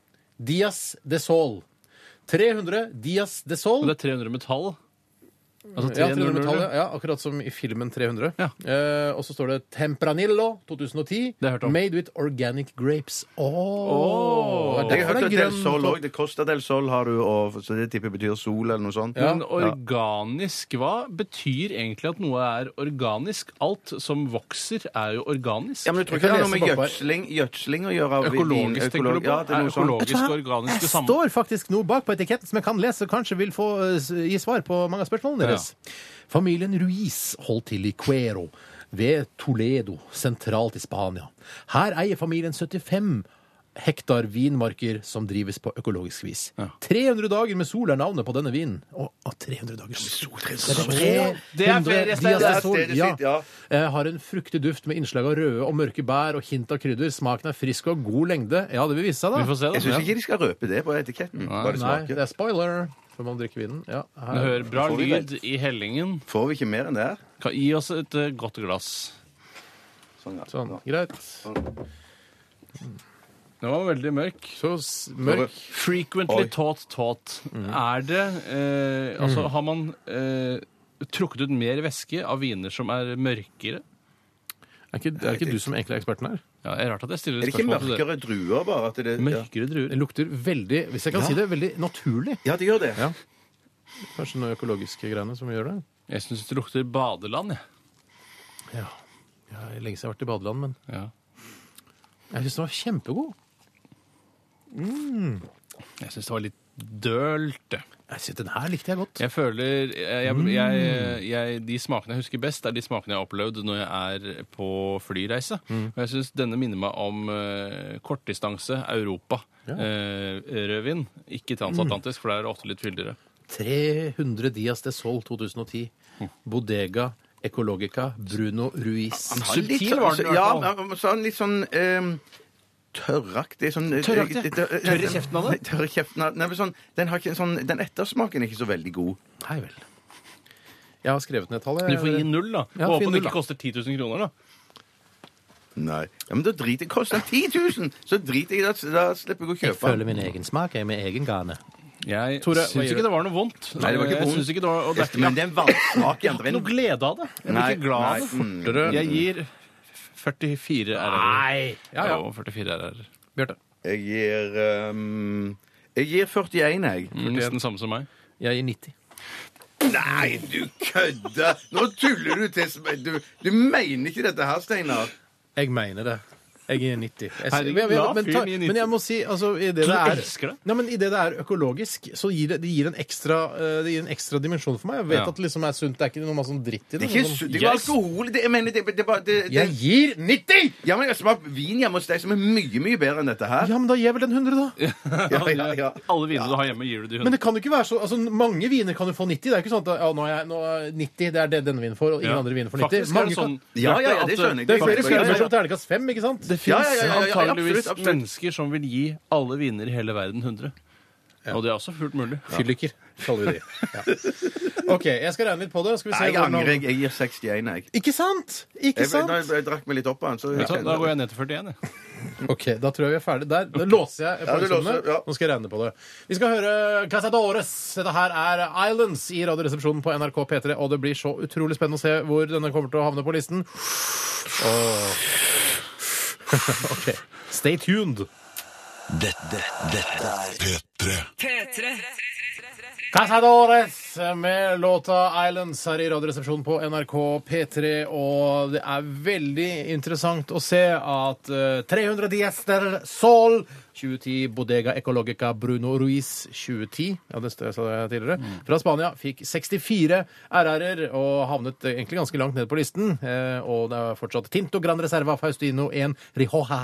Dias de Sol. 300 Dias de Sol. Men Det er 300 metall. Altså Ja, 300 metall, 300 ja. ja, akkurat som i filmen 300. Ja. Eh, og så står det Tempranillo 2010. Det har jeg hørt om. Made with organic grapes. Åh! Åh. Det Jeg er har derfor det hørt at er Del grønn Sol på- òg. Det Costa del Sol har du, og, så det tipper jeg betyr sol eller noe sånt. Men organisk, hva betyr egentlig at noe er organisk? Alt som vokser, er jo organisk. Ja, men jeg tror Jeg ikke det kan har noe lese med det opp her. gjødsling, gjødsling å gjøre. av vin- Økologisk, tenker du på? Ja, det er er noe sånn. sånt. økologisk og organisk det Det samme? står faktisk noe bak på etiketten som jeg kan lese, og kanskje vil få eh, s- gi svar på mange av spørsmålene deres. Familien Ruiz holdt til i Cuero, ved Toledo, sentralt i Spania. Her eier familien 75 hektar vinmarker som drives på økologisk vis. Ja. 300 dager med sol er navnet på denne vinen. Å, å, 300 dager sol! Det er ferie, Stein. Det er stedet sitt, ja. Eh, Har en fruktig duft med innslag av røde og mørke bær og hint av krydder. Smaken er frisk og har god lengde. Ja, det vil vise seg, Vi da. får se, da. Jeg syns ikke de skal røpe det på etiketten. Bare Nei, det smake. er spoiler før man drikker vinen. Ja, Du her. hører bra Får vi lyd i hellingen. Får vi ikke mer enn det her? Kan Gi oss et eh, godt glass. Sånn, ja. Sånn, Ja. greit. Den var veldig mørk. Så s- mørk. Frequently Oi. Mhm. taught taught. Er det eh, Altså, har man eh, trukket ut mer væske av viner som er mørkere? Er ikke, er ikke du som egentlig er eksperten her? Ja, det er Rart at jeg stiller Er det ikke spørsmål til det. mørkere druer, bare? At det, ja. Mørkere druer. Det lukter veldig, hvis jeg kan si det, veldig naturlig. ja, de gjør det. Ja. Kanskje noen økologiske greiene som gjør det. Jeg syns det lukter badeland, jeg. Ja. Jeg har lenge siden jeg har vært i badeland, men Ja. jeg syns den var kjempegod. Jeg syns det var litt dølt. det. Jeg synes Den her likte jeg godt. Jeg føler jeg, jeg, jeg, jeg, De smakene jeg husker best, er de smakene jeg har opplevd når jeg er på flyreise. Og jeg syns denne minner meg om eh, kortdistanse Europa. eh, rødvin. Ikke transatlantisk, for det er ofte litt fyldigere. 300 Dias de Sol 2010. Bodega Ecologica Bruno Ruiz. Han har litt Subtil sånn- var den i hvert Ja, fall. men- men så har han litt sånn ehm, tørraktig sånn, Tørraktig? eh, tør- Tørr i kjeften av det? Nei, Tørr i kjeften av Nei, men sånn, den, har ikke en sånn, den ettersmaken er ikke så veldig god. Hei vel. Jeg har skrevet ned tallet. Men du får gi null, da. Ja, og fin null, håpe det da. ikke koster 10 000 kroner, da. Nei. Ja, men da driter jeg. Koster den 10 000, så driter jeg i det. Da slipper jeg å Jeg kjøpe føler den. min egen smak, jeg, med egen gane. Jeg Tore, hva gjør syns ikke du? det var noe vondt. Nei, det var ikke jeg vondt. syns ikke det var, og det er ikke Men det er en vannsmak i andre jeg har ikke noe enden. glede av det. Jeg blir Nei, ikke glad av nei, det. mm. Fortere. Jeg gir 44 RR. Nei! Ja, ja. Jo, 44 RR. Bjarte. Jeg gir ehm, Jeg gir 41, jeg. Nesten samme som meg. Jeg gir 90. Nei, du kødder! Nå tuller du til sm- Du, du mener ikke dette her, Steinar. Jeg mener det. Jeg gir 90. Jeg, Herregud, men, la men, ta, fyren gi 90. men jeg må si altså, i det Så du det er, elsker det? Nei, men i det det er økologisk, så gir det, det gir en ekstra, eh, det gir en ekstra dimensjon for meg. Jeg vet Ja. at det liksom er sunt. Det er ikke noe masse sånn dritt i Det det. er ikke men su- sånn, det er jo alkohol. Det, jeg mener, det, det, er bare- det, det, jeg gir 90! Ja, men jeg har smakt vin hjemme hos deg som er mye, mye bedre enn dette her. Ja, men da gir jeg vel en 100, da. Ja, ja, ja. Alle vinene du har hjemme, gir du de 100. Men det kan jo ikke være så, altså Mange viner kan jo få 90. Det er jo ikke sånn at ja, nå er jeg, nå er 90, det er det denne vinen får, og ingen Ja. andre viner får 90. Faktisk er Mange det sånn, kan, Ja, ja, ja, det Bjarte, at, skjønner jeg. det er Ja, flere ja, ja, skjermer ja. som terningkast 5, ikke sant? sånn- Det Ja, fins ja, ja, ja, ja, antageligvis absolutt, absolutt. mennesker som vil gi alle viner i hele verden 100. Og det er også fullt mulig. Fylliker, kaller vi de. Ja. (laughs) OK, jeg skal regne litt på det. Skal vi Nei, se jeg hvordan- angrer. Jeg, jeg gir 61, jeg. Ikke sant? Ikke Jeg, sant? da jeg, jeg drakk meg litt opp av den. Så Vet du hva, Da går jeg ned til 41, jeg. Ok, Da tror jeg vi er ferdig der. Da låser jeg Ja, du produksjonene. låser, ja. Nå skal jeg regne på det. Vi skal høre Casadores. Dette her er Islands i Radioresepsjonen på NRK P3. Og det blir så utrolig spennende å se hvor denne kommer til å havne på listen. Åh. (laughs) ok. Stay tuned. Dette, dette er P3. Casadores med låta 'Islands' her i Radioresepsjonen på NRK P3. Og det er veldig interessant å se at eh, 300 Diester Sol 2010 Bodega Ecologica Bruno Ruiz 2010 ja, det st- jeg sa det tidligere, Mm. fra Spania fikk 64 RR-er og havnet eh, egentlig ganske langt ned på listen. Eh, Og det er fortsatt Tinto Gran Reserva Faustino 1 Rihoja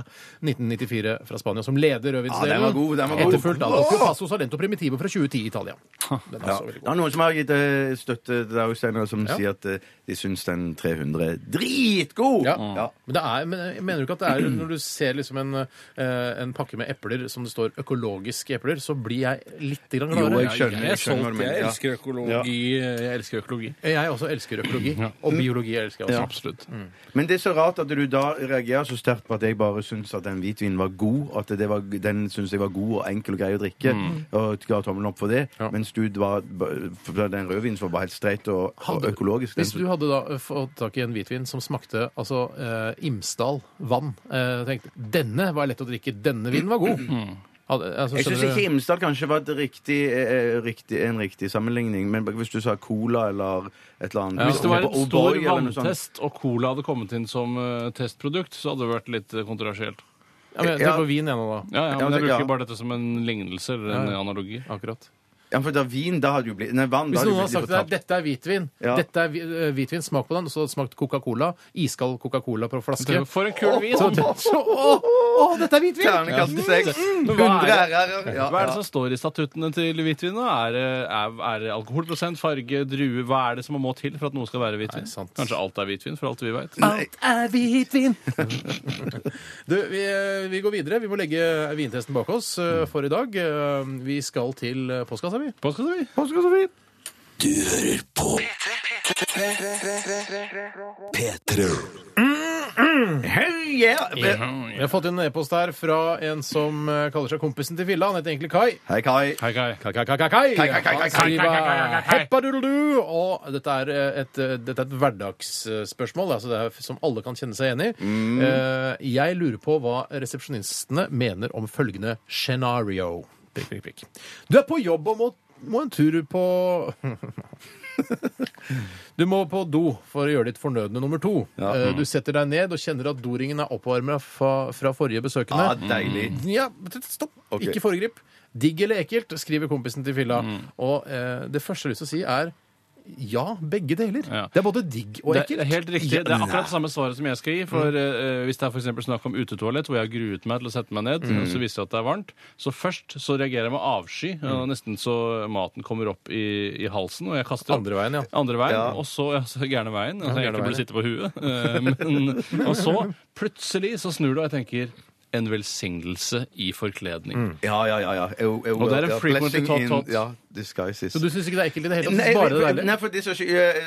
1994 fra Spania som leder rødvinsdelen. Ja, den var god, den var god. Etterfulgt av Alco Passo Salento Primitivo fra 2010 i Italia. Den er Ja. også Altså, veldig Det god. er noen som har gitt eh, støtte til deg, Steinar, som Ja. sier at eh, de syns den 300 er dritgod! Ja. Men, det er, men jeg mener du ikke at det er når du ser liksom en, eh, en pakke med epler som det står 'økologiske epler', så blir jeg litt grann Jo, gladere. jeg skjønner, jeg skjønner hva du mener. Ja. økologi. Jeg elsker økologi. Jeg også elsker økologi. Og biologi elsker jeg også. Ja. Absolutt. Men det er så rart at du da reagerer så sterkt på at jeg bare syns at den hvitvinen var god. At det var, den syns jeg var god og enkel og grei å drikke. Mm. Og ga tommelen opp for det. Ja. Mens du var, for den rødvinen som var helt streit og, og Hadde- økologisk den Hvis du hadde da fått tak i en hvitvin som smakte altså eh, Imsdal vann eh, tenkte, Denne var lett å drikke, denne vinen var god. Hadde, altså, Jeg syns skjønner ikke du- Imsdal kanskje var et riktig, eh, riktig, en riktig sammenligning, men hvis du sa cola eller et eller annet Hvis det var en O'boy stor eller noe sånt. vanntest, og cola hadde kommet inn som eh, testprodukt, så hadde det vært litt eh, kontroversielt. ja, men, jeg Ja. tenker på vin ennå, da. Ja, ja, Ja, men det- Jeg bruker ja. bare dette som en lignelse eller en analogi. Akkurat. Ja, for da vin, da hadde jo blitt Nei, vann, da Hvis hadde jo noen har blitt sagt litt til deg fortapt. dette er hvitvin, Ja. dette er hvi- eh, hvitvin, smak på den, og så hadde det smakt Coca-Cola, iskald Coca-Cola på flaske For en kul vin! så, så, å, å, dette er hvitvin! Ternekast seks. Men Mm. 100 hva er det? RR-er. Ja, Hva er det ja. som står i statuttene til hvitvin? da? Er, det- er, er det alkoholprosent, farge, drue? Hva er det som må til for at noe skal være hvitvin? Nei, sant. Kanskje alt er hvitvin, for alt vi veit. Nei, Du, vi, eh, vi går videre. Vi må legge vintesten bak oss eh, for i dag. Eh, Vi skal til eh, postkassa, vi. Du hører på P3. Hell yeah! Vi har fått inn en e-post her fra en som eh, kaller seg kompisen til Filla. Han heter egentlig Kai. Hei, Kai. Hei, Kai. Kai-kai-kai-kai! Kai, kai, kai, kai, Han kai, skriver «Heppaduruldu», og dette er eh, et, dette er et hverdagsspørsmål, altså det er som alle kan kjenne seg enig i. Mm. Eh, Jeg lurer på hva resepsjonistene mener om følgende scenario. Prikk, prikk, prikk. Du er på jobb og må, må en tur på (laughs) Du må på do for å gjøre ditt fornødne nummer to. Eh, Du setter deg ned og kjenner at doringen er oppvarma fra, fra forrige besøkende. Ja, deilig. Ja, men stopp. Ok. Ikke foregrip. Digg eller ekkelt, skriver kompisen til Filla. Mm. Og eh, det første jeg har lyst til å si, er ja, begge deler. Ja. Det er både digg og Det ekkelt. er helt riktig. Ja, mm. Det er akkurat det samme svaret som jeg skal gi. For eh, Hvis det er for eksempel snakk om utetoalett, hvor jeg har gruet meg til å sette meg ned, Mm. og så viser det at det er varmt, så først så reagerer jeg med avsky, Mm. og nesten så maten kommer opp i, i halsen, og jeg kaster opp. Andre veien, ja. Andre veien, Ja. og så ja, så gærne veien. Altså, jeg gærne egentlig burde veien, sitte på huet. eh, men, og så plutselig så snur du, og jeg tenker en velsignelse i forkledning. Ja, ja, ja. ja. Eu, eu, Og det er en ja. frequently Blessing taught in- thought. Ja, disguises. Så du syns ikke det er ekkelt i det hele tatt? du Nei, synes bare det er for, deilig? nei, for det som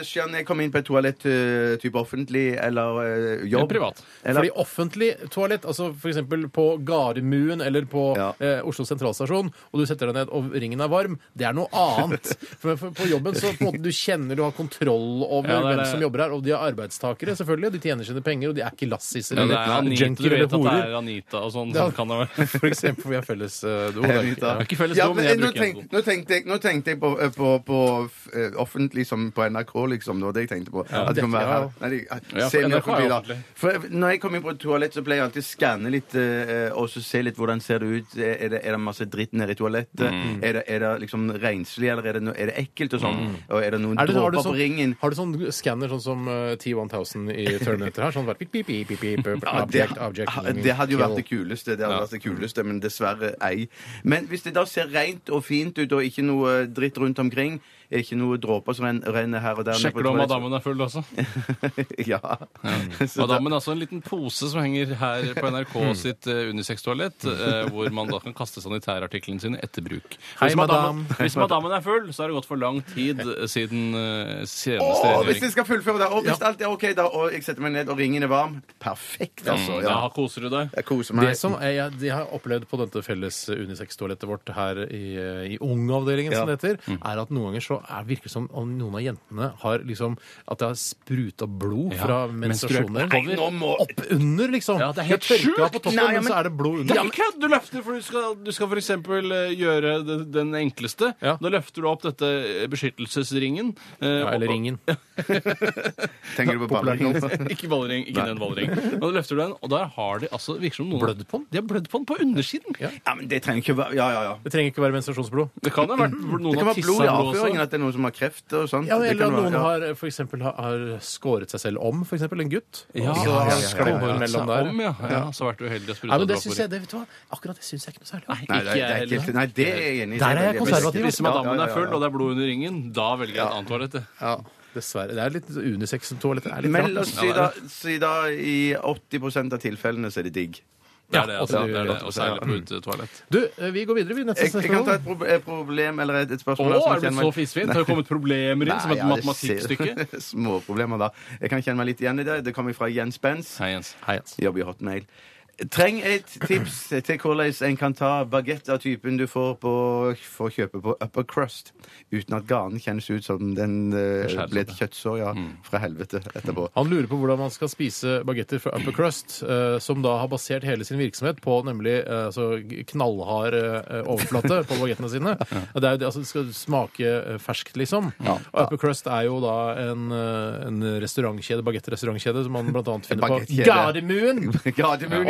skjer når jeg kommer inn på et toalett eh, type offentlig eller eh, jobb Eller privat. Eller, Fordi offentlig toalett, altså f.eks. på Gardermuen eller på Ja. eh, Oslo sentralstasjon, og du setter deg ned og ringen er varm, det er noe annet. (laughs) For, for på jobben så på en måte, du kjenner du har kontroll over Ja, det er hvem det. som jobber her, og de er arbeidstakere, selvfølgelig. De tjener sine penger, og de er ikke lassiser Ja, det er eller Anita, du junkier vet eller at det er horer. Anita og sånn. Ja. sånn kan det være. (laughs) For eksempel, vi har felles eh, (laughs) do. det er ikke- Anita. ja. Ikke felles Ja, do, men men jeg nå, bruker en tenk, nå, tenkte jeg, nå tenkte jeg på, eh, på, på f- eh, offentlig som på NRK, liksom. Det var det jeg tenkte på. at det kan dette, være ja. her. Nei, de- at- Ja, for se NRK er meg forbi, da. offentlig. For når jeg kommer inn på et toalett, så pleier jeg alltid å skanne litt eh, og så se litt hvordan ser det ut. Eh, Er det, er det masse dritt nede i toalettet? Mm. Er, det, er det liksom renslig, eller er det, no, er det ekkelt og sånn? Og er det noen Er det, har, du dråper på sånn, ringen? har du sånn skanner sånn som eh, T1000 (laughs) i Terminator her? Sånn bare pip, pip, pip, pip, pip, Ja, det, object, object, ha- det hadde jo vært det kill. kuleste, det hadde vært det kuleste, men dessverre ei. Men hvis det da ser rent og fint ut, og ikke noe dritt rundt omkring, ikke noe dråper som ren- renner her og der ned på Sjekker du om toalett- madammen er full også? (laughs) ja. Så da- (laughs) Madammen er altså en liten pose som henger her på NRK sitt eh, unisex-toalett, eh, hvor man da kan kaste sanitærartiklene sine etter bruk. Hei, Hvis madammen- madam. Hvis madammen er full, så har det gått for lang tid eh, siden eh, seneste Å, hvis rengjøring. jeg skal fullføre det, og hvis alt er OK, da, og jeg setter meg ned, og ringen er varm Perfekt, altså. Da Ja. Mm. koser du deg. Jeg koser meg. Det som er, jeg, jeg har opplevd på dette felles unisex-toalettet vårt her i, eh, i Ungavdelingen, som Ja. Mm. det heter, er at noen ganger så er, virker det som om noen av jentene har liksom At det har spruta blod fra menstruasjoner Nei, nå må opp under, liksom. Ja, det er helt tørka sjukt. på toppen, Nei, ja, men men- så er det blod Det under. er ikke kødd! Du løfter, for du skal, du skal f.eks. gjøre det- den enkleste. Ja. Da løfter du opp dette eh, beskyttelsesringen. eh, Ja, og- eller ringen. Tenker du på ballering? (laughs) Ikke ballering. Ikke den ballering. Og da løfter du den, og der har de altså virker som noen Blødd på den? De har blødd på den på undersiden. Ja, men det trenger ikke være Ja, ja, ja. Det trenger ikke være menstruasjonsblod. Det kan ha (clears throat) vært noen Det kan har være tissa blod i blod også. avføringen, at det er noen som har kreft og sånt. Ja, Det eller kan at være- noen ja. har for eksempel, har, har skåret seg selv om, for eksempel en gutt. Ja, og så ja, har ja, han ja, sklidd ja, ja. Altså, mellom Så der. Om, ja. ja. Så har vært uheldig å sprute Nei, men det dråper synes i. jeg, det, vet du hva? Akkurat det syns jeg ikke noe særlig om. Nei, Nei, det, ikke det, jeg er heller. ikke, nei, det er jeg enig i. Der er jeg Det konservativ, Hvis madammen er full, og det er blod under ringen, da velger jeg et annet toalett. jeg. Ja, dessverre. Det er litt unisex-toalett. Det er litt Men la rart. altså. oss si da, si da i 80 av tilfellene så er det digg. Det er det, altså, Ja, det er det, ja, Mm. og særlig på utetoalett. Du, eh, vi går videre. Vi neste Jeg, jeg kan spørsmål. ta et prob- eh, problem eller et, et Å, spørsmål. her som er jeg det kjenner blitt meg- så fisefint? Har det kommet problemer inn som Nei, et ja, det matematikkstykke? ser- (laughs) Små problemer da. Jeg kan kjenne meg litt igjen i det. Det kommer fra Jens Benz. Hei, Jens. Hei, Jens. Jobber i Hotmail. Treng et tips til hvordan en kan ta bagett av typen du får på, får kjøpe på Upper Crust, uten at ganen kjennes ut som den eh, Skjæres ble et opp, kjøttsår ja, Mm. fra helvete etterpå. Han lurer på hvordan man skal spise bagetter fra Upper Crust, eh, som da har basert hele sin virksomhet på nemlig eh, altså, knallhard eh, overflate på bagettene sine. Det er jo det, altså, det skal smake eh, ferskt, liksom. Og Upper Crust er jo da en, eh, en restaurantkjede, bagettrestaurantkjede som man blant annet finner på Bagettkjede. Gardermuen! Gardermoen,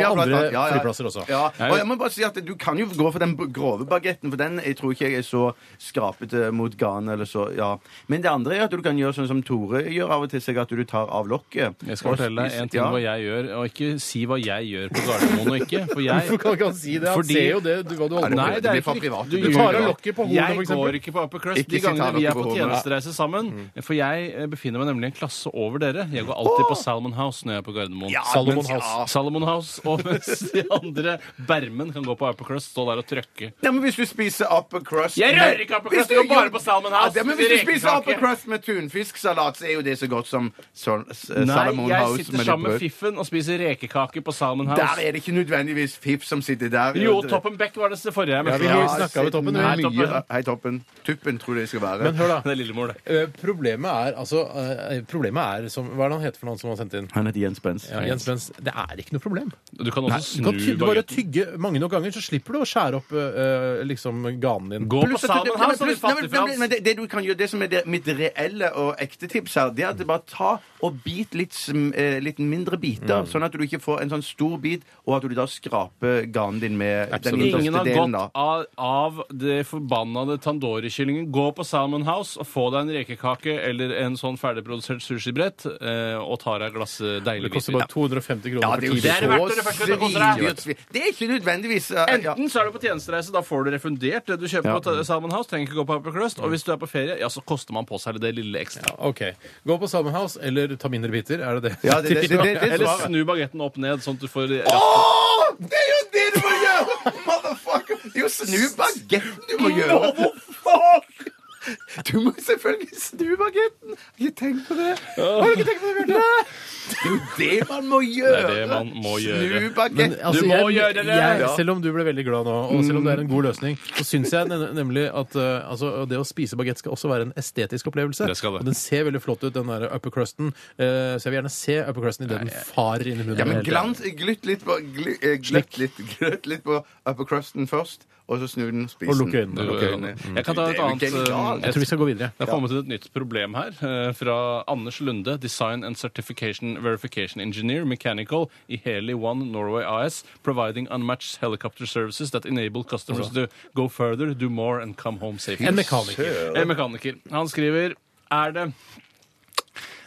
andre (laughs) ja, blant annet. Ja, ja. flyplasser også. Ja. Og jeg må bare si at Du kan jo gå for den b- grove bagetten, for den jeg tror ikke jeg er så skrapete mot garn. eller så, ja. Men det andre er at du kan gjøre sånn som Tore gjør av og til, seg at du tar av lokket. Jeg skal Og fortelle deg en ting ja. hva jeg gjør, og ikke si hva jeg gjør på Gardermoen og ikke. For jeg Hvorfor kan ikke han si det? Han Fordi- ser jo det, du, hva du holder på Nei, med. det er blir for ikke riktig. privat. Du Det blir gjør for det. privat. lokket på hornet, Jeg for eksempel. går ikke på upper crust Ikke de sitt gangene her lokket vi er på på Mm. hornet. tjenestereise sammen. For jeg eh, befinner meg nemlig en klasse over dere. Jeg går alltid på Salmon House når jeg er på Gardermoen. Salomon mens- House. Ja. Salomon House, og (laughs) mens de andre bermen kan gå på upper crust, stå der og trøkke. Ja, men Hvis du spiser upper crust Jeg rører ikke upper Hvis crust, du- jeg går bare på Salmon House Ja, det- men med Hvis du spiser rekekake. upper crust med tunfisksalat, så er jo det så godt som sol, s- Salomon Nei, jeg House sitter med litt sammen brød. med Fiffen og spiser rekekake på Salmon Der House. er det ikke nødvendigvis Fiff som sitter der. Jo, Toppen Beck var det forrige jeg Ja, møtte. vi snakka ved toppen. Nei, det er toppen. mye. Hei, Toppen. Tuppen tror jeg det skal være. Men hør, da. Det er Lillemor, det. Eh, Problemet er altså eh, Problemet er som Hva er det han heter for noen som har sendt inn? Han heter Jens Benz. Ja, Jens Benz, det er ikke noe problem. Du kan også Du kan ty du snu bare bagetten. tygge mange nok ganger, så slipper du å skjære opp eh, liksom ganen din. Gå på Pluss at du- Salmon men House, da, pluss- din nei, men- fattige men- Frans. men det, det du kan gjøre, det som er det, mitt reelle og ekte tips her, det er at det bare ta og bit litt, sm- eh, litt mindre biter, sånn at du ikke får en sånn stor bit, og at du da skraper ganen din med den Ingen midterste har delen. gått da. av, av det forbannede tandoori-kyllingen. Gå på Salmon House og få deg en rekekake eller en sånn ferdigprodusert sushibrett eh, og ta deg et glass eh, deilig Det koster bare 250 kroner Ja, for det er ti jo det er biter. verdt det, det første det koster deg. så svindyrt. Det er ikke nødvendigvis eh, ja. Enten så er du på tjenestereise, da får du refundert det du kjøper Ja. på Salmon House. trenger ikke gå på Upper Crust, Og hvis du er på ferie, ja, så koster man på seg det lille ekstra. OK. Gå på Salmon House eller ta mindre biter, er det det? Ja, det- det- det- det- det- Eller svaret. snu bagetten opp ned, sånn at du får Åh, Det er jo det du må gjøre! Motherfucker! Det er jo snu bagetten du må gjøre! Du må selvfølgelig snu bagetten! Ikke tenk på det. Har du ikke tenkt på det, Bjarte? Det er jo det man må gjøre! Det er det man må gjøre. Snu (laughs) Men, bagetten. altså, Du må jeg, gjøre det! Jeg, Ja. selv om du ble veldig glad nå, og selv om det er en Mm. god løsning, så syns jeg nem- nemlig at eh, altså, det å spise bagett skal også være en estetisk opplevelse. Det skal det. Og den ser veldig flott ut, den der upper crusten. Eh, så jeg vil gjerne se upper crusten idet den farer inn i munnen. Ja, men glans, glytt litt på, gly, eh, gløtt litt, gløtt litt på upper crusten først, og så snu den, spis Og den. lukke øynene. Du, Ok. eh, Jeg kan ta Det er et jo annet genialt. eh, Jeg et- tror vi skal gå videre. Det har kommet et nytt problem her eh, fra Anders Lunde, Design and Certification Verification Engineer, Mechanical i Heli One Norway AS, providing unmatched helicopter services that enable customers to go further, do more and come home safely. En mekaniker. En mekaniker. Han skriver Er det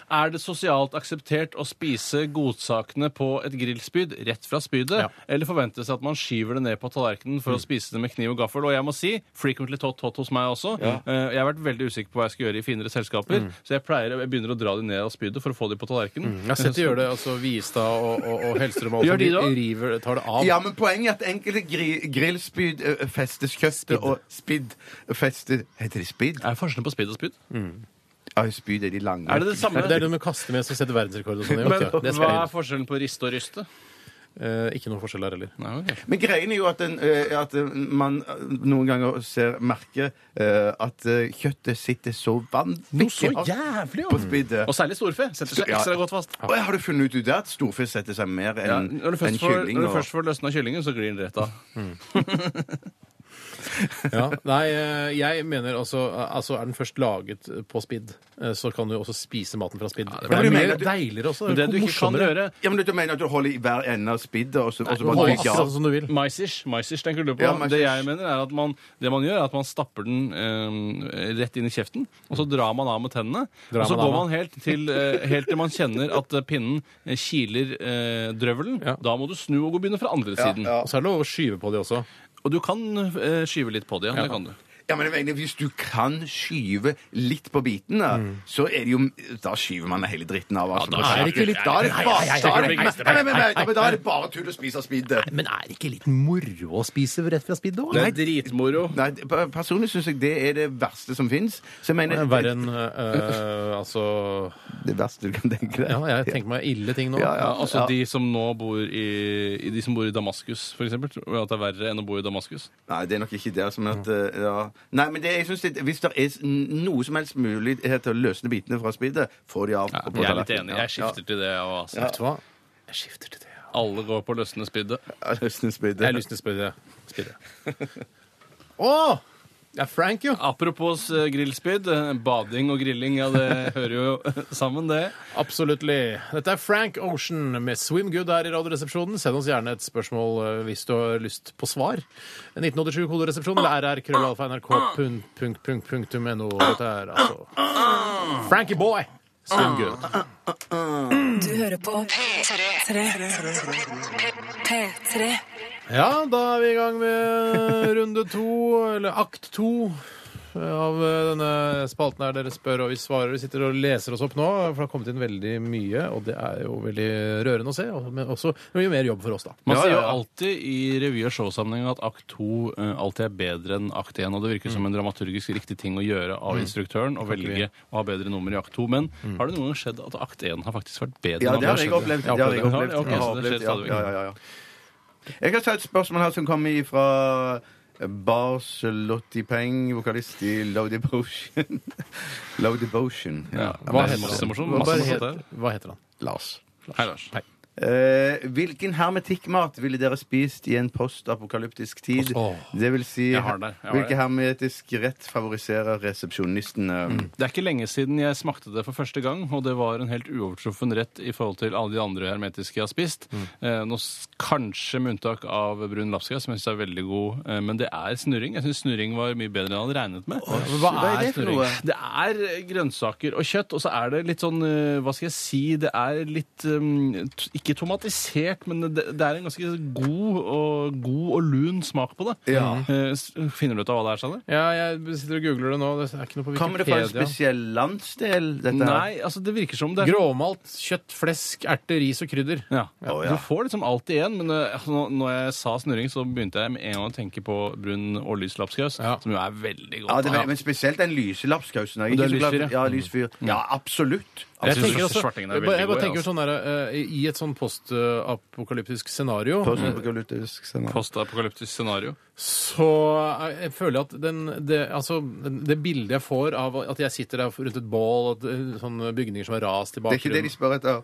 er det sosialt akseptert å spise godsakene på et grillspyd rett fra spydet, Ja. Mm. eller forventes det at man skyver det ned på tallerkenen for å spise det med kniv og gaffel? Og jeg må si, frequently tot tot hos meg også, eh, jeg har vært veldig usikker på hva jeg skal gjøre i finere selskaper, så jeg, pleier, jeg begynner å dra de ned av spydet for å få de på tallerkenen. Mm. Jeg har sett de gjør det. altså Vistad og, og, og Hellstrøm og Gjør de det de også? river, tar det av. Ja, men poenget er at enkelte gri, grillspyd eh, festes kjøttet, og spidd festes Heter det spidd? Er det forskjellen på spyd og spyd? Ja, spyd er de lange. Er det det samme? Mm. Det er det med å kaste med som setter verdensrekord og sånn. i, Men vet du. Det hva skal er forskjellen på riste og inn. ryste? Eh, ikke noen forskjell der heller. Nei, ok. Men greien er jo at, den, eh, at eh, man eh, noen ganger ser merker eh, at eh, kjøttet sitter så vanvittig hardt jævlig, på spiddet. Og særlig storfe setter seg Ja. ekstra godt fast. Å, ja, har du funnet ut det at storfe setter seg mer Ja, enn enn når du først får, kylling? når du og- først får løsna kyllingen, så glir den rett av. Ja, (laughs) nei, eh, jeg mener altså, altså Er den først laget eh, på spidd, eh, så kan du jo også spise maten fra spidd. For det men er du mye mener- deiligere også. Men det du ikke kan morsommere. gjøre Ja, men Du mener at du holder i hver ende av spiddet, og så, og så Du må bare ha trykker akkurat sånn. av? som du vil. Maisish, maisish tenker du på. Ja, maisish. det jeg mener er at man, det man gjør, er at man stapper den eh, rett inn i kjeften, og så drar man av med tennene. Drar og så man av går med- man helt til, eh, helt til man kjenner at eh, pinnen eh, kiler eh, drøvelen. Ja. Da må du snu og gå begynne fra andre siden. ja. Og så er det lov å skyve på de også. Og du kan eh, skyve litt på det, ja. Det kan du. Ja, men jeg mener, Hvis du kan skyve litt på bitene, Mm. så er det jo Da skyver man hele dritten av. Altså. Ja, da er det ikke litt- Da er det bare, Nei, nei, nei, da er nei, nei, det- nei, Nei, nei, nei, nei, men da er det bare tull å spise av spiddet. Men er det ikke litt moro å spise rett fra spidd òg? Det er dritmoro. Nei, det- per- Personlig syns jeg det er det verste som fins. Så jeg mener Verre enn eh, altså det verste du kan tenke deg. Ja, jeg tenker meg ille ting nå. Ja, ja. Ja, altså ja. de som nå bor i, i De som bor i Damaskus, for eksempel. tror jeg At det er verre enn å bo i Damaskus. Nei, det er nok ikke det som er at eh, ja. Nei, men det, jeg synes det, hvis det er s- noe som helst mulighet til å løsne bitene fra spiddet, få de av. Ja, og på jeg er litt tallerkenen. enig. Jeg skifter til det. Og, altså. Vet du hva? Jeg skifter til det. ja. Alle går på løsne spiddet. Ja, løsne spiddet. Jeg har lyst til (laughs) å spørre deg. Å! Det er Frank, jo. Apropos eh, grillspyd. eh, Bading og grilling, ja, (laughs) det hører jo sammen, det. Absolutely. Dette er Frank Ocean med Swim Good her i Radioresepsjonen. Send oss gjerne et spørsmål eh, hvis du har lyst på svar. 1987 koderesepsjon eller rr.krøllalfa.nrk.no. Dette er altså Frankie Boy. Swim Good. Du hører på P3. P3. Ja, da er vi i gang med runde to, eller akt to. Av eh, denne spalten her dere spør og vi svarer. Vi sitter og leser oss opp nå, for det har kommet inn veldig mye. Og det er jo veldig rørende å se, og- men også mye mer jobb for oss, da. Man Ja, sier ja, jo ja. alltid i revy- og showsammenheng at akt 2 alltid er bedre enn akt 1. Og det Mm. virker som en dramaturgisk riktig ting å gjøre av instruktøren å velge å ha bedre nummer i akt 2. Men har det noen gang skjedd at akt 1 har faktisk vært bedre Mm. Ja, enn det har akt jeg 2? opplevd. Jeg Det har jeg opplevd opplevd. det. Jeg har Ja, ok, så det opplevd. skjer stadig Ja, ja, ja, ja. Jeg har tatt et spørsmål her som kommer fra Bars Lottipeng, vokalist i Low Devotion. (laughs) Low Devotion. Ja. Hva heter masse han? morsomt, Hva, masse bare morsomt heter, hva heter han? Lars. Hei, Lars. Eh, hvilken hermetikkmat ville dere spist i en postapokalyptisk tid? Åh. Det vil si Jeg har den der. Jeg har Hvilken den. hermetisk rett favoriserer resepsjonistene? Det er ikke lenge siden jeg smakte det for første gang, og det var en helt uovertruffen rett i forhold til alle de andre hermetiske jeg har spist. Mm. Eh, nå, s- kanskje med unntak av brun lapskaus, som jeg syns er veldig god, eh, men det er snurring. Jeg syns snurring var mye bedre enn jeg hadde regnet med. Hva er det for snurring? noe? Det er eh, grønnsaker og kjøtt, og så er det litt sånn eh, Hva skal jeg si? Det er litt eh, t- Ikke tomatisert, men det, det er en ganske god og, god og lun smak på det. Ja. Eh, s- Finner du ut av hva det er, Sanne? Ja, jeg sitter og googler det nå. Det er ikke noe på Kommer det fra en Wikipedia. spesiell landsdel? Dette her? Nei, altså det virker som det er Gråmalt, kjøtt, flesk, erter, ris og krydder. Ja. Å, ja. Du får liksom alltid igjen, men eh, altså, nå- når jeg sa snurring, så begynte jeg med en gang å tenke på brun og lys lapskaus, Ja. som jo er veldig Ja, godt. det, men spesielt den lyse lapskausen. Jeg er Men ikke det er så lysfyr, glad- ja, Mm. lysfyr. Ja, absolutt. Jeg Jeg synes tenker også, jeg svartingen er veldig bare jeg bare god, jeg, tenker altså. sånn der, eh, I et sånn postapokalyptisk scenario Mm. Postapokalyptisk scenario. altså. Postapokalyptisk scenario. så er- jeg føler jeg at den, det, altså, den- det bildet jeg får av at jeg sitter der rundt et bål, at, eh, sånne bygninger som er rast i Det liksom- er ikke det de bakgrunnen spør etter.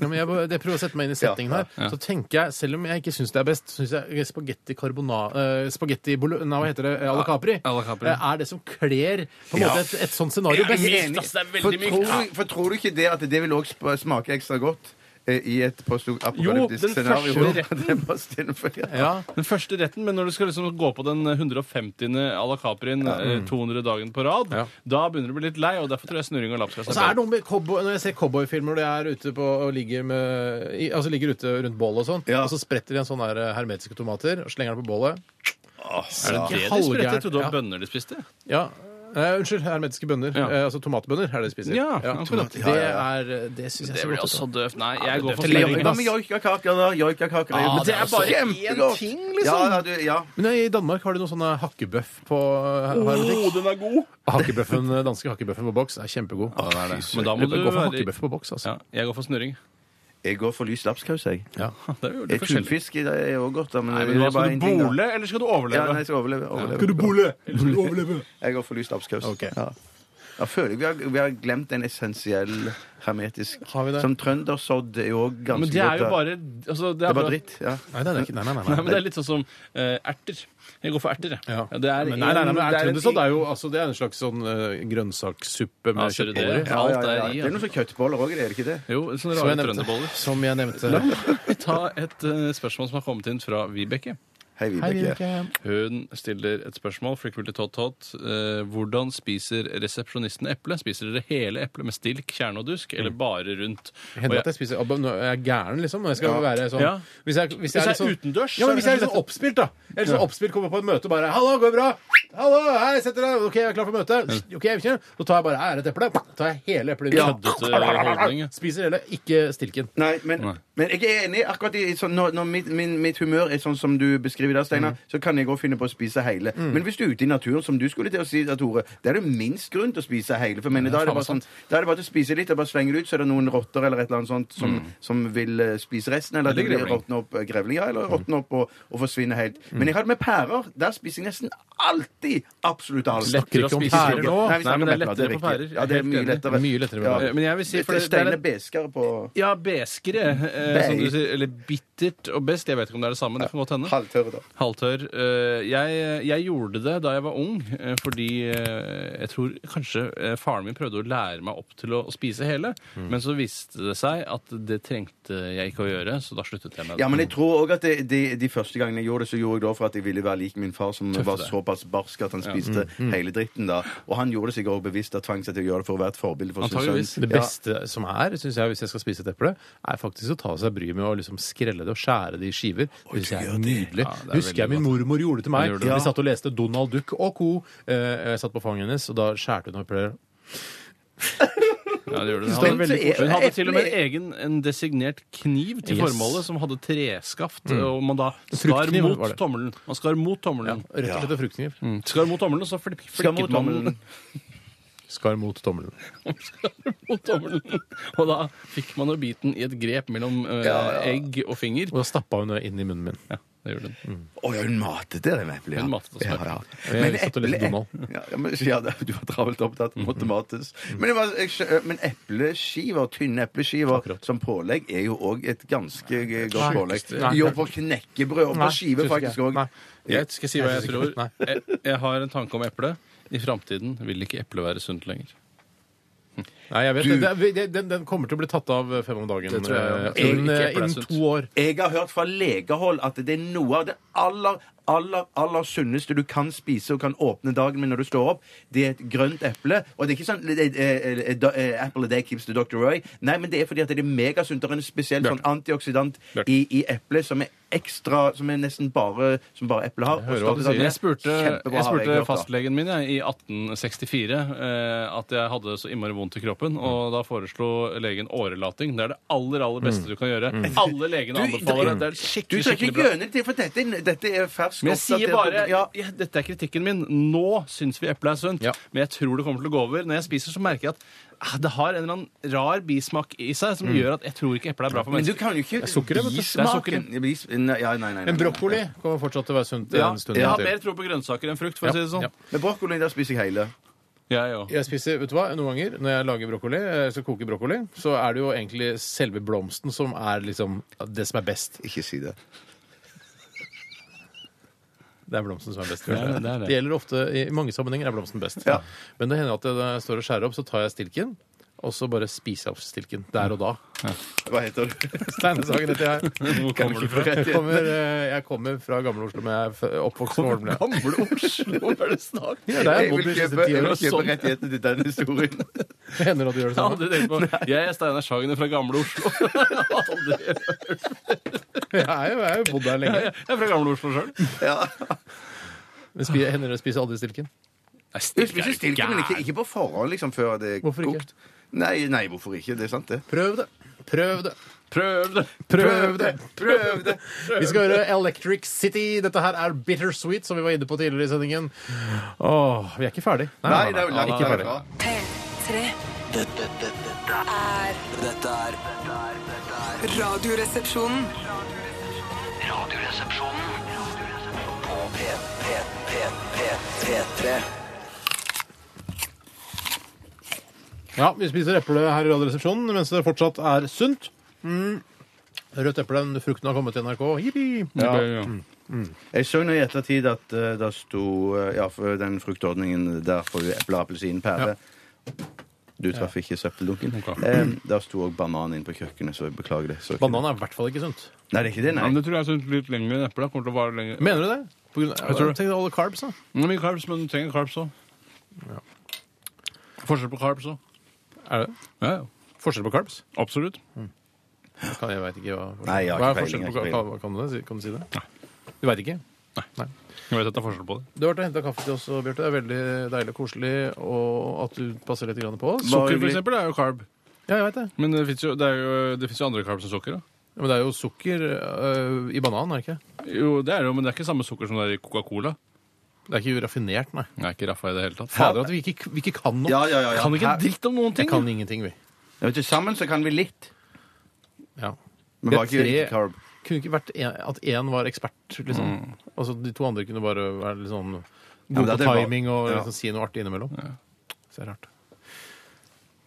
ja, men jeg, bare- jeg prøver å sette meg inn i settingen her. Så tenker jeg, selv om jeg ikke syns det er best, syns jeg eh, spagetti carbona... eh, spagetti bolo... Nei, hva heter det? Eh, Alla Capri. Ja, alla capri. eh, Er det som kler på en Ja. måte et, et sånt scenario best? Jeg er enig. ass, det er veldig For mykt. tror, du- for tror du ikke det at det vil også sp- smake ekstra godt eh, i et postapokalyptisk Jo, den scenario? første (laughs) Det er bare stillefri. Ja. Den første retten, men når du skal liksom gå på den 150. à la Caprien eh, 200 dagen på rad, Ja. da begynner du å bli litt lei, og derfor tror jeg snurring og lapskaus Og så Altså, er det noe med cowboy, Når jeg ser cowboyfilmer hvor jeg er ute på, og ligger, med, i, altså ligger ute rundt bålet og sånn, Ja. og så spretter de en sånn her hermetiske tomater og slenger den på bålet Er det det de halvgærent. spiste? Jeg trodde det Ja. var bønner de spiste. Ja. Eh, unnskyld, hermetiske bønner. Ja. Eh, altså tomatbønner er det de spiser. Ja, akkurat. Det er eh, Det syns jeg Det så blir godt. altså. ut, også da. døvt. Nei, jeg men går døvt for er snurring. lenge, Ja, ass. men joikakaker, da. Joikakaker. Ja, det er bare én kjempegodt. ting, liksom. Ja, ja, du, ja. Men nei, I Danmark har de noe sånn eh, hakkebøff på eh, her- hermetikk. den er god! Hakkebøffen, eh, danske hakkebøffen på boks er kjempegod. Men da må Jeg du bør gå for være hakkebøff på boks, altså. ja, Jeg går for snurring. (laughs) Jeg går for lys lapskaus, jeg. Det er jo Eh, litt forskjellig. Tunfisk det er også godt, da. Men Nei, det men altså, hva, er bare skal en du ting, da. bole, eller skal du Ja, nei, overleve? jeg skal overleve. overleve. Jeg går for lys lapskaus. Ok. Ja. Jeg føler vi har, vi har glemt en essensiell hermetisk Har vi det? Som trøndersodd er jo ganske godt. Men det er jo da. bare altså, det, det er er bare dritt. Ja. Nei, nei, nei, nei, nei, Nei, nei, men Det er litt sånn som eh, erter. Jeg går for erter, jeg. Ja. Ja, det er Men nei, nei, nei, en- men det er en- ertrundesodd er jo altså, det er en slags sånn eh, grønnsakssuppe Ja, med ser du det? kjøttboller i. Ja, alt er i, Det ja. er noen sånne kjøttboller òg, er det ikke det? Jo, sånne Som jeg rare nevnte. (laughs) trønderboller. Som jeg nevnte. Vi tar et eh, spørsmål som har kommet inn fra Vibeke. Hei, Vibeke. Hun stiller et spørsmål. Frequently tot tot. Eh, hvordan spiser resepsjonisten eple? Spiser dere hele eplet med stilk, kjerne og dusk, eller bare rundt? Og Hender jeg- at jeg spiser abba, når jeg er gæren, liksom. Når jeg skal være sånn Ja. Hvis jeg, hvis Hvis jeg jeg er er sånn, utendørs, Ja, så er men hvis jeg er det litt sånn oppspilt, da. Eller sånn oppspilt kommer på et møte og bare 'Hallo, går det bra?' 'Hallo, hei, setter deg.' 'OK, jeg er klar for møte.' 'OK, jeg vil ikke.' Så tar jeg bare 'Her er et eple.' Tar jeg hele eplet. Køddete holdning. Spiser hele, ikke stilken. Nei, men, men jeg er enig. akkurat i, sånn, Når, når mitt, min, mitt humør er sånn som du beskriver der, Steinar, Mm. så kan jeg òg finne på å spise hele. Men hvis du er ute i naturen, som du skulle til å si, da, Tore, da er det minst grunn til å spise hele. For jeg mener, da, er det bare sånn, da er det bare til å spise litt og bare slenge det ut, så er det noen rotter eller et eller annet sånt Mm. som, som vil eh, spise resten. Eller det Eller blir grevling. råtne opp eh, grevling, ja, Mm. eller råtne opp og, og forsvinne helt. Men jeg har det med pærer. Der spiser jeg nesten alltid absolutt alt. Lettere å ikke om spise pærer jordbær. nå. Nei, vi Nei, snakker men det er om epler, det lettere er på pærer. riktig. Ja, det er mye Helt enig. lettere. Mye lettere med Ja. Eh, Men jeg vil si for det- det er- Steinar Beskere på Ja, beskere. Eh, som du sier, eller bittert og best. Jeg vet ikke om det er det samme. Det kan godt hende. halvtørre da. Halvtørr. Eh, Jeg, jeg gjorde det da jeg var ung, eh, fordi eh, jeg tror kanskje eh, faren min prøvde å lære meg opp til å å spise hele, Mm. men så viste det seg at det trengte jeg ikke å gjøre, så da sluttet jeg med det. Ja, men jeg tror også at det, de, de første gangene jeg gjorde det, så gjorde jeg det for at jeg ville være lik min far, som var deg. såpass barsk at han spiste Mm, hele dritten da. Og han gjorde det sikkert også bevisst og tvang seg til å gjøre det for å være et forbilde for sin Antageligvis. sønn. Det beste som er, synes jeg, hvis jeg skal spise et eple, er faktisk å ta seg bryet med å liksom skrelle det og skjære det i skiver. Det synes jeg er nydelig. Ja, det er Husker jeg veldig min mormor gjorde det til meg. gjorde det. Vi satt og leste Donald Duck og co. Eh, Jeg satt på fanget hennes, og da skjærte hun epler. Ja, det gjorde det. det er Hun veldig hadde- Hun hadde til og med egen en designert kniv til Yes. formålet, som hadde treskaft, og man da skar Fruktkniv var mot det. tommelen. Man skar mot tommelen. Rett og slett en fruktkniv. Skar mot tommelen, og så flik- Skar mot flikket man tommelen. Skar mot tommelen. (laughs) mot tommelen. Og da fikk man jo biten i et grep mellom eh, egg og finger. Og da stappa hun det inn i munnen min. Ja, det gjorde den. Å ja, hun matet dere med eplet. ja. Hun matet oss ja, med. ja. Jeg satt og leste eple- Donald. (laughs) Ja, ja, men, ja, det- du var travelt opptatt. Mm, Måtte mates. Men, det var, jeg, skjø- eh, men epleskiver, tynne epleskiver som pålegg, er jo òg et ganske eh, godt pålegg. Nei. Jo, på knekkebrød og Nei, på skive synes faktisk ikke jeg. òg. Nei. Jeg skal jeg si hva jeg Jeg synes tror. Jeg, jeg har en tanke om eple. I framtiden vil ikke eple være sunt lenger. Nei, jeg vet det. det. er- Den, den kommer til å bli tatt av eh, fem om dagen. Det tror jeg. eh, Jeg tror Innen ikke eplet er innen sunt. to år. Jeg har hørt fra legehold at det er noe av det aller, aller, aller sunneste du kan spise og kan åpne dagen med når du står opp. Det er et grønt eple. Og det er ikke sånn eh, eh, eh, da- eh, Apple a day keeps the doctor away. Nei, men det er fordi at det er megasunt. Det er en spesiell sånn antioksidant i, i eplet som er ekstra Som er nesten bare Som bare eplet har. hører hva du sier. Jeg spurte, Kjempebra jeg har jeg spurte hørt, da. fastlegen min jeg, i 1864 eh, at jeg hadde så innmari vondt i kroppen, og Mm. da foreslo legen årelating. Det er det aller aller beste du kan gjøre. Alle legene Mm. Du- anbefaler det. Det er Du trenger skikkelig, ikke skikkelig bra. gjøne det til, for dette, er- dette er fersk Men jeg sier oppdatert- bare ja. ja, Dette er kritikken min. Nå syns vi eple er sunt, Ja. men jeg tror det kommer til å gå over. Når jeg spiser, så merker jeg at ah, det har en eller annen rar bismak i seg som gjør at jeg tror ikke eple er bra for Mm. Men du mennesker. kan jo ikke sukkeret, vet du. Det er Bismaken Bis- Nei, ja, nei, nei, nei, Men nei. brokkoli kommer fortsatt til å være sunt Ja, en stund jeg ja, har mer tro på grønnsaker enn frukt, for å si det sånn. Ja. Men brokkoli, der spiser jeg hele. Jeg òg. Jeg spiser, vet du hva, Noen ganger når jeg lager brokkoli, eh, så koker brokkoli, så er det jo egentlig selve blomsten som er liksom det som er best. Ikke si det. Det er blomsten som er best. er kanskje. det, det er det. Det gjelder ofte, I mange sammenhenger er blomsten best. Ja. Men det hender at jeg- når jeg står og skjærer opp, så tar jeg stilken, og så bare spiser jeg opp stilken der og da. Hva heter du? Steinesagen heter jeg. Hvor kommer du fra? (laughs) Jeg kommer, eh, jeg kommer fra Gamle Oslo, men jeg er fø- oppvokst på Holmlia. Gamle Oslo, hva er det snakk Ja, det er Jeg bodd vil de siste kjøpe, ti jeg årene. vil kjøpe Sånn rettighetene til den historien. hender det at du gjør det Jeg har samme. aldri tenkt på Jeg er Steinar Sagen fra Gamle (laughs) Oslo. Aldri. Jeg er jo- jeg har jo bodd der lenge. Jeg er fra Gamle Oslo sjøl. Men spi- hender det å spise aldri stilken? Du spiser stilke, men ikke, ikke på forhånd liksom, før det er Hvorfor ikke? kokt. Nei, nei, hvorfor ikke? Det er sant, det. Prøv det. Prøv det. Prøv det! Prøv det! Prøv det! Vi skal høre Electric City. Dette her er Bittersweet, som vi var inne på tidligere i sendingen. Åh, vi er ikke ferdig. Nei, det er jo langt Ikke ferdig. derfra. P3 Dette, dette, dette, er er- dette er dette er- dette er Radioresepsjonen. Radioresepsjonen på P, P, P, P, P3. Ja, vi spiser eple her i Radioresepsjonen mens det fortsatt er sunt. Mm. Rødt eple, den frukten har kommet til NRK. Jippi! Ja. Mm. Jeg så nå i ettertid at uh, det sto eh, Ja, for den fruktordningen der får du eple, appelsin, pære. Du traff ikke søppeldunken. Ok. Eh, der sto òg banan inne på kjøkkenet, så jeg beklager det. Så ikke Banan er i hvert fall ikke sunt. det. Nei, det er ikke det, nei. Men det tror jeg er sunt litt lenger enn eplet. Kommer til å vare lenger. Mener du det? På grunn av, jeg tror det. tenkte alle carbs, da. Men mye carbs, men du trenger carbs òg. Forskjell på carbs òg. Er det Ja, ja. forskjell på carbs? Absolutt. Kan, jeg vet ikke hva Nei, jeg har Hva ikke er forskjell peiling, på jeg har ikke carbs? Kan, du det? Si- kan du si det? Du veit ikke? Jeg vet at det er forskjell på det. Du har vært og henta kaffe til oss, Bjarte. Det er veldig deilig og koselig og at du passer litt grann på oss. Hva- Sukker, for eksempel, er jo carb. Ja, jeg vet det. Men det fins jo, det er jo- det finnes jo andre carbs enn sukker. Da. Ja, Men det er jo sukker øh, i banan, er det ikke? Jo, det er det jo, men det er ikke samme sukker som det er i Coca-Cola. Det er ikke raffinert, nei. Jeg er ikke raffa i det hele tatt. Fader, at vi ikke, vi ikke kan noe. Ja, ja, ja, ja. Kan ikke Her- en dritt om noen ting. Jeg kan ingenting, vi. Ja, vet du, sammen så kan vi litt. Ja. Men Det var er ikke tre- ikke carb. Kunne ikke vært en, at én var ekspert, liksom. Mm. Altså, de to andre kunne bare være litt sånn men gode det på er det- timing og ja. liksom, si noe artig innimellom. Så det er rart.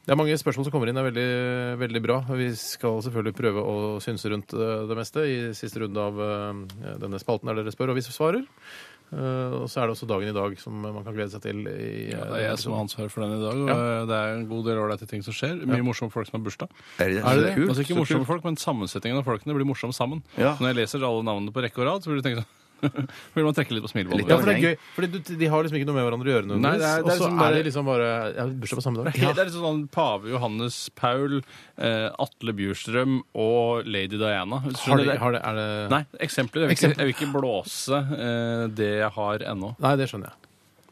Det er mange spørsmål som kommer inn. Det er veldig, veldig bra. Vi skal selvfølgelig prøve å synse rundt eh, det meste i siste runde av eh, denne spalten der dere spør, og vi svarer. Eh, Og så er det også dagen i dag som man kan glede seg til. I, eh, Ja, det er jeg som har ansvaret for den i dag. Og eh, Ja. Det er en god del ålreite ting som skjer. Mye morsomme folk som har bursdag. Er det, Er det det? kult? altså ikke Så morsomme kult. folk, men sammensetningen av folkene blir morsom sammen. Ja. Så Når jeg leser alle navnene på rekke og rad, så blir du tenke sånn (laughs) Vil man trekke litt på smilebåndet? Litt Ja, for det er gøy. Fordi du, de har liksom ikke noe med hverandre å gjøre. Nei, det er- det nødvendigvis. Og er så liksom bare- er det liksom bare ja, bursdag på (laughs) samme dag. Det er litt sånn Pave Johannes Paul, eh, Atle Bjurstrøm og lady Diana. Hvis du Har skjønner de, det. har de, er det Nei, eksempler. Jeg vil, Eksempler. Ikke, jeg vil ikke blåse eh, det jeg har ennå. Nei, det skjønner jeg.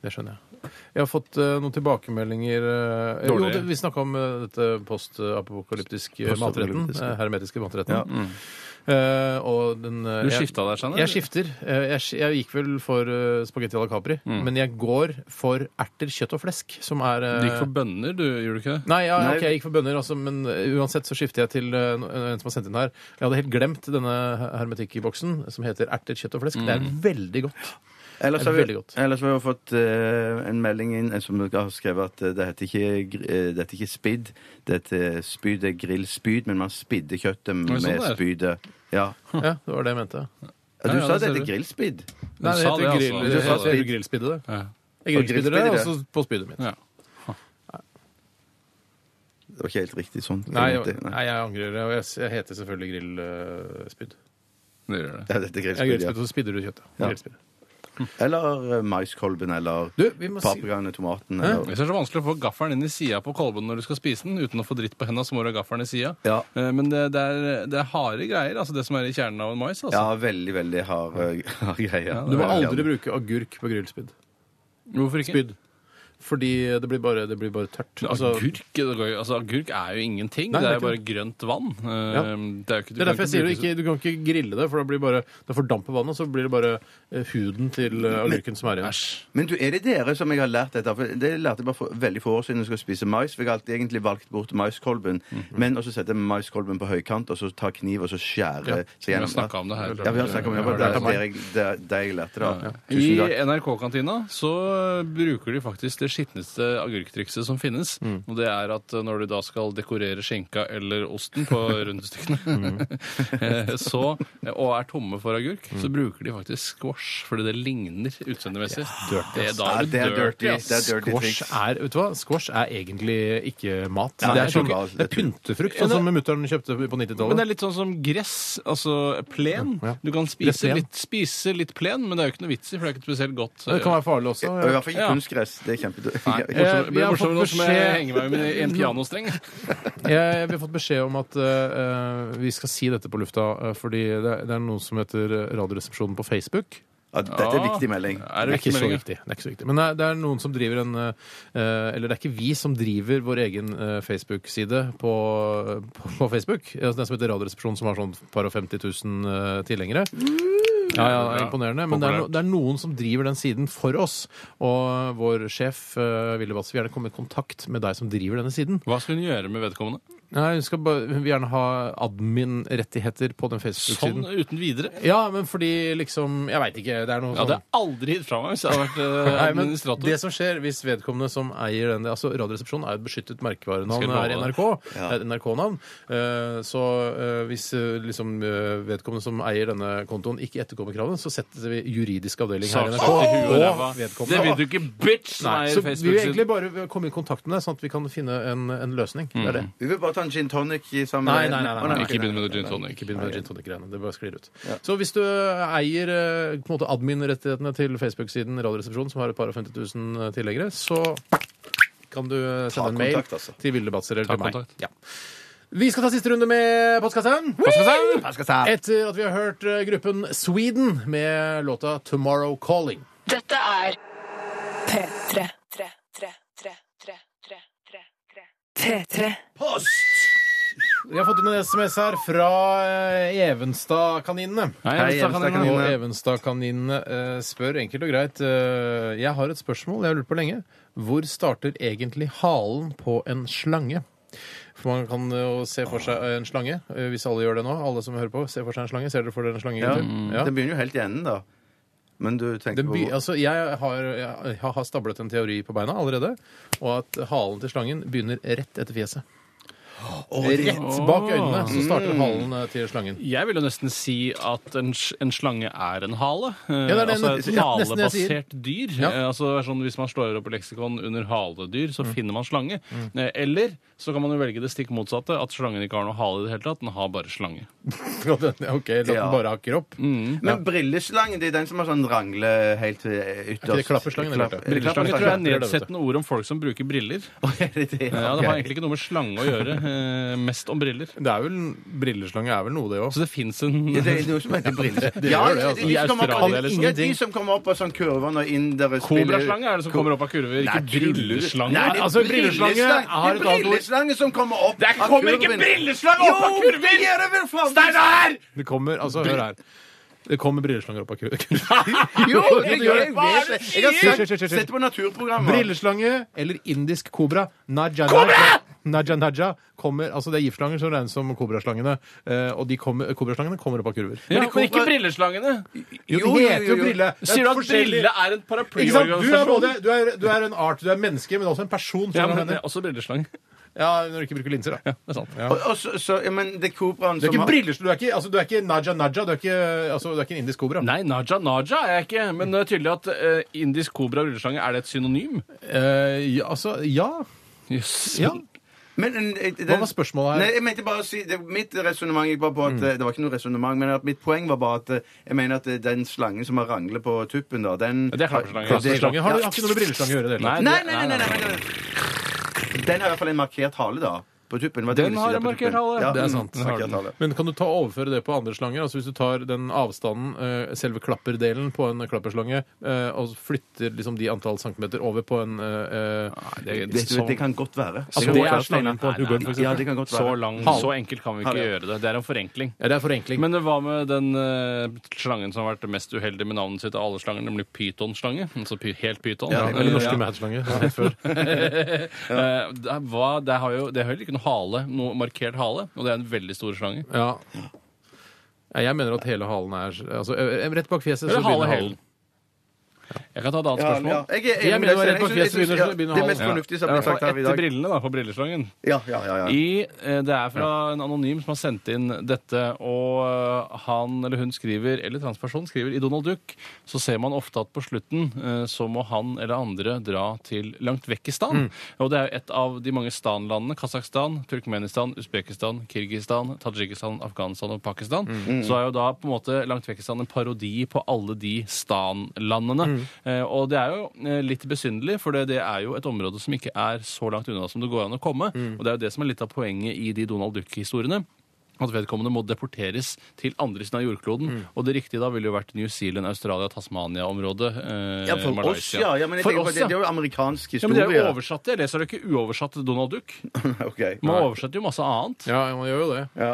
Det skjønner jeg. Jeg har fått eh, noen tilbakemeldinger eh, jo, Dårlige. det, Vi snakka om eh, dette post-apokalyptiske matretten. Postapokalyptiske. eh, hermetiske matretten. Ja. Eh, og den eh, Du jeg- skifta der, Steinar? Jeg skifter. Eh, Jeg, sk- jeg gikk vel for eh, spagetti à la Capri, Mm. men jeg går for erter, kjøtt og flesk, som er eh, Du gikk for bønner, du, gjorde du ikke det? Nei, ja, Nei. ok, jeg gikk for bønner, altså, men uansett så skifter jeg til eh, no- en som har sendt inn her. Jeg hadde helt glemt denne hermetikkboksen som heter erter, kjøtt og flesk. Det Mm. er veldig godt. Ellers Det er har, vi, veldig godt. ellers har vi jo fått eh, en melding inn eh, som dere har skrevet at eh, det heter ikke, gr- eh, det heter ikke spidd. Det heter spyd, det er grillspyd, men man spidder kjøttet med det sånn det er? spydet. Ja. ja, Ja, det var det jeg mente. Du Ja, ja, sa det det ser heter du. grillspyd. Du Nei, det sa heter det, grill, altså. det Du sa heter spyd. grillspiddet, det. Jeg grillspidder Ja. det, grillspidder, og ja. så altså, på spydet mitt. Ja. Det var ikke helt riktig sånn. Nei, Det jeg, måtte- nei, jeg angrer. og Jeg, jeg heter selvfølgelig grillspyd. Det gjør det. Ja, det heter Jeg grillspyd, grillspyd, og så spidder du kjøttet. Ja. Grillspyd. ja. Eller eh, maiskolben, eller Du, vi må si paprikaen og tomaten, eller Jeg synes det er så vanskelig å få gaffelen inn i sida på kolben når du skal spise den, uten å få dritt på henda, så må du ha gaffelen i sida. Ja. Eh, Men det, det, er, det er harde greier, altså det som er i kjernen av en mais. Altså. Ja, veldig, veldig hard eh, (laughs) hard greie. Du må aldri bruke agurk på grillspyd. Hvorfor ikke? Spyd. Fordi det blir bare, det blir bare tørt. Altså, agurk, det går jo- altså, agurk er jo ingenting. Nei, det det er er jo bare grønt vann. Eh, Ja. Det er jo ikke, du det er kan derfor jeg sier du bruke- ikke, du kan ikke grille det, for da blir bare, det fordamper vannet, og så blir det bare eh, huden til eh, agurken som er igjen. Æsj. Men du, er det dere som jeg har lært dette? For det lærte jeg bare for, veldig få år siden jeg skulle spise mais. For jeg har alltid egentlig valgt bort maiskolben. Men også sette maiskolben på høykant, og så ta kniv og så skjære Ja, seg Vi har gjennom. snakket om det her. Ja, vi har snakket om det. Det Jeg har lært var der, av meg. der, jeg, der, der jeg lærte det. da. Tusen I takk. NRK-kantina så bruker de faktisk det skitneste agurktrikset som finnes. Mm. Og det er at når du da skal dekorere skinka eller osten (laughs) på rundestykkene, Mm. eh, (laughs) så, og er tomme for agurk, så bruker de faktisk squash, fordi det ligner utseendemessig. Det, da Ja, er det det er dirty. dirty, ass. Det er dirty Squash triks. er, vet du hva? Squash er egentlig ikke mat. Ja, det, det er er sånn- sjokolade. det er pyntefrukt, sånn som mutter'n kjøpte på Men 90-tallet. det er litt sånn som gress, altså plen. Ja. Du kan Gress spise igjen. litt, spise litt plen, men det er jo ikke noe vits i, for det er ikke spesielt godt. eh, Det kan være farlig også. Og i hvert fall ikke Ja. kunstgress. Det er (laughs) Morsomt- kjempedørt. Eh, vi Det har blir morsommere nå fått som jeg beskjed- henger meg med i en pianostreng. Jeg, vi har fått beskjed om at eh, vi skal si dette på lufta, eh, fordi det, det er noe som heter eh, Radioresepsjonen på Facebook. Ja, dette er en viktig melding. Er Det er, det ikke viktig så melding? ja? viktig, det er ikke så viktig. Men det er, det er noen som driver en eh, Eller det er ikke vi som driver vår egen eh, Facebook-side på, på, på Facebook. Altså Den som heter Radioresepsjonen, som har sånn par og 50 000 eh, tilhengere. Ja, ja, det er imponerende. Men det er, no, det er noen som driver den siden for oss. Og vår sjef, eh, Ville Batz, vil gjerne komme i kontakt med deg som driver denne siden. Hva skal hun gjøre med vedkommende? Nei, Hun skal bare, hun vil gjerne ha admin-rettigheter på den Sånn Facebook-siden. uten videre? Ja, men fordi liksom Jeg veit ikke. Det er noe Jeg hadde sånn aldri gitt fra meg hvis jeg hadde (laughs) vært Nei, eh, men administrator. det som skjer hvis vedkommende som eier den altså Radioresepsjonen er jo et beskyttet merkevarenavn Skal jeg love her i det? NRK. Det er et NRK-navn. Eh, Så eh, hvis eh, liksom eh, vedkommende som eier denne kontoen, ikke etterkommer kravene, så setter vi juridisk avdeling her i Saksøkt NRK. i huet og ræva. vedkommende. Det vil du ikke, bitch! som Nei, eier så vi vil egentlig Facebook-siden. bare komme i kontakt med deg, sånn at vi kan finne en, en løsning. Mm. Det er det. Vi vil bare ta en gin tonic i sammen. Nei, nei, nei, nei, Å, nei. Ikke begynn med noe gin tonic. Ikke begynn med gin tonic-greiene. Det bare sklir ut. Så hvis du eier eh, på en måte admin-rettighetene til Facebook-siden Radioresepsjonen, som har et par og 50 000 tilhengere, så kan du eh, Ta sende en mail kontakt, altså. til Vilde Batzer eller Ta til meg. kontakt. Ja. Vi skal ta siste runde med postkassen. Postkassen! Etter at vi har hørt eh, gruppen Sweden med låta 'Tomorrow Calling'. Dette er P3. tre, tre, tre, tre, tre, tre, tre. P3. Vi har fått inn en SMS her fra eh, Evenstad-kaninene. Hei, Hei, Evenstad-kaninene. Og Evenstad-kaninene. Evenstad-kaninene eh, spør enkelt og greit eh, Jeg har et spørsmål jeg har lurt på lenge. Hvor starter egentlig halen på en slange? For Man kan jo se for seg en slange, eh, hvis alle gjør det nå. Alle som hører på, ser for seg en slange. Ser dere for dere en slange? Ja. Mm. gutter? Den begynner jo helt i enden, da. Men du tenker Den by, på Mm. altså, jeg, har, jeg har stablet en teori på beina allerede, og at halen til slangen begynner rett etter fjeset. rett bak øynene så Mm. starter halen eh, til slangen. (laughs) Jeg vil jo nesten si at en, sl- en slange er en hale. Eh, Ja, det er det- altså et ja, nesten det jeg halebasert dyr. Ja. Eh, altså det er sånn, Hvis man slår opp i leksikon under haledyr, så Mm. finner man slange. Eh, eller så kan man jo velge det stikk motsatte, at slangen ikke har noe hale i det hele tatt. Den har bare slange. OK, la den Ja. Mm. bare ha kropp. Men brilleslangen, det er den som har sånn rangle helt til ytterst. Er ikke det klapperslangen, eller? Brilleslange Brilleslange tror (laughs) jeg er heter det, vet du. nedsettende ord om folk som bruker briller. Eh, Ja, Det har egentlig ikke noe med slange å gjøre. Eh, mest om briller. Det er vel, Brilleslange er vel noe, det òg. Så det fins en Det er noe som heter brilleslange. det Ja, gjør det, det er altså. de I som kommer opp- Australia, liksom. ja, De som kommer opp av sånn kurver når indere spiller (laughs) Kobraslange er det som kommer opp av kurver, Nei, ikke brilleslange. Nei, det er Altså, brilleslange har et Det annet er ord. brilleslange som kommer opp Det av kommer ikke kurven. brilleslange opp av Jo, det gjør det vel faen! Steinar! Det kommer altså, hør her. Det kommer brilleslanger (laughs) opp av kurven. Jo, det gjør det. Hva Jeg er det du vet det. Jeg sier? har sett- sett på naturprogrammer. Brilleslange eller indisk kobra. Naja, Naja, naja, naja kommer, altså det er giftslanger som regnes som kobraslangene. eh, Og de kommer, kobraslangene kommer opp av kurver. Ja, Men men det kommer- ikke brilleslangene. Jo, jo, det heter jo, jo jo. brille. Det er Sier du at forskjellig- brille er en Ikke sant? Du er, både, paraplyorganisasjon? du, er, du er en art, du er menneske, men også en person. som Ja, kan men det hende. er også brilleslang. Det ja, Når du ikke bruker linser, da. er sant. Og- og så- så- ja, Men det er kobraen Du er som ikke har brilleslang, du er ikke, altså, du er ikke naja, naja, du er ikke, altså, du er ikke en indisk kobra. Nei, Naja Naja er jeg ikke. Men det er tydelig at eh, indisk kobra og brilleslange, er det et synonym? Eh, ja, altså, ja. Jøss. ja. Men, en- en- den- Hva var spørsmålet her? Nei, jeg mente bare å si, det, Mitt resonnement gikk bare på Mm. at eh, Det var ikke noe resonnement, men at mitt poeng var bare at eh, jeg mener at eh, den slangen som har rangle på tuppen, da, den Ja, det er klapperslange. Ja, det er- Brilleslange har, har ikke noe med brilleslange å gjøre. i Det, hele tatt. Nei, det- nei, nei, nei, nei, nei, nei. Den har i hvert fall en markert hale, da. På tuppen. Hva er det Den du har sier en på tuppen? markert hale. Ja, Det er mm, sant. Den har markert den. hale. Men kan du ta overføre det på andre slanger? Altså Hvis du tar den avstanden, eh, selve klapperdelen på en klapperslange, eh, og flytter liksom de antall centimeter over på en eh, eh, Det, Det, du, det kan godt være. Altså, kan det godt er være, Steinar. slangen på Nei, nei, Hubert, for nei. eksempel. Ja, det kan godt så være. lang, så enkelt kan vi ikke gjøre det. Det er en forenkling. Ja, det er forenkling. Men hva med den eh, slangen som har vært mest uheldig med navnet sitt av alle slanger, nemlig pytonslange? Altså py helt pyton. Ja, Eh, eller norske ja. madslanger. Ja, før. (laughs) Eh, det, er- hva, det har jo det har heller ikke noe hale, noe markert hale, og det er en veldig stor slange. ja. Ja, Jeg mener at hele halen er altså, ø- ø- Rett bak fjeset så Eller hale begynner halen. halen. Jeg kan ta et annet Ja, spørsmål. ja. Jeg er enig Jeg mener med deg, det var rett på Steinar. Jeg fjeset synes- begynner, jeg så synes- begynner ja, Det mest halen. fornuftige som har blitt sagt her i Etter dag. brillene, da, på brilleslangen. Ja, ja, ja, ja. I, eh, det er fra en anonym som har sendt inn dette, og eh, han eller hun skriver, eller transperson skriver, i Donald Duck så ser man ofte at på slutten eh, så må han eller andre dra til langt vekk i stan. Og det er jo et av de mange stanlandene, Kasakhstan, Turkmenistan, Usbekistan, Kirgistan, Tadsjikistan, Afghanistan og Pakistan. Så er jo da på en måte langt vekk i stan en parodi på alle de stanlandene. Mm. Eh, Og det er jo eh, litt besynderlig, for det, det er jo et område som ikke er så langt unna som det går an å komme. Mm. Og det er jo det som er litt av poenget i de Donald Duck-historiene. At vedkommende må deporteres til andre siden av jordkloden. Mm. Og det riktige da ville jo vært New Zealand, Australia, Tasmania-området. Eh, Ja, for oss, Malaysia. ja. ja men jeg for tenker på oss, det, ja. det er jo amerikansk ja, men det er historie. jo oversatt. Jeg leser jo ikke uoversatt Donald Duck. Ok. Man oversetter jo masse annet. Ja, man gjør jo det. Ja.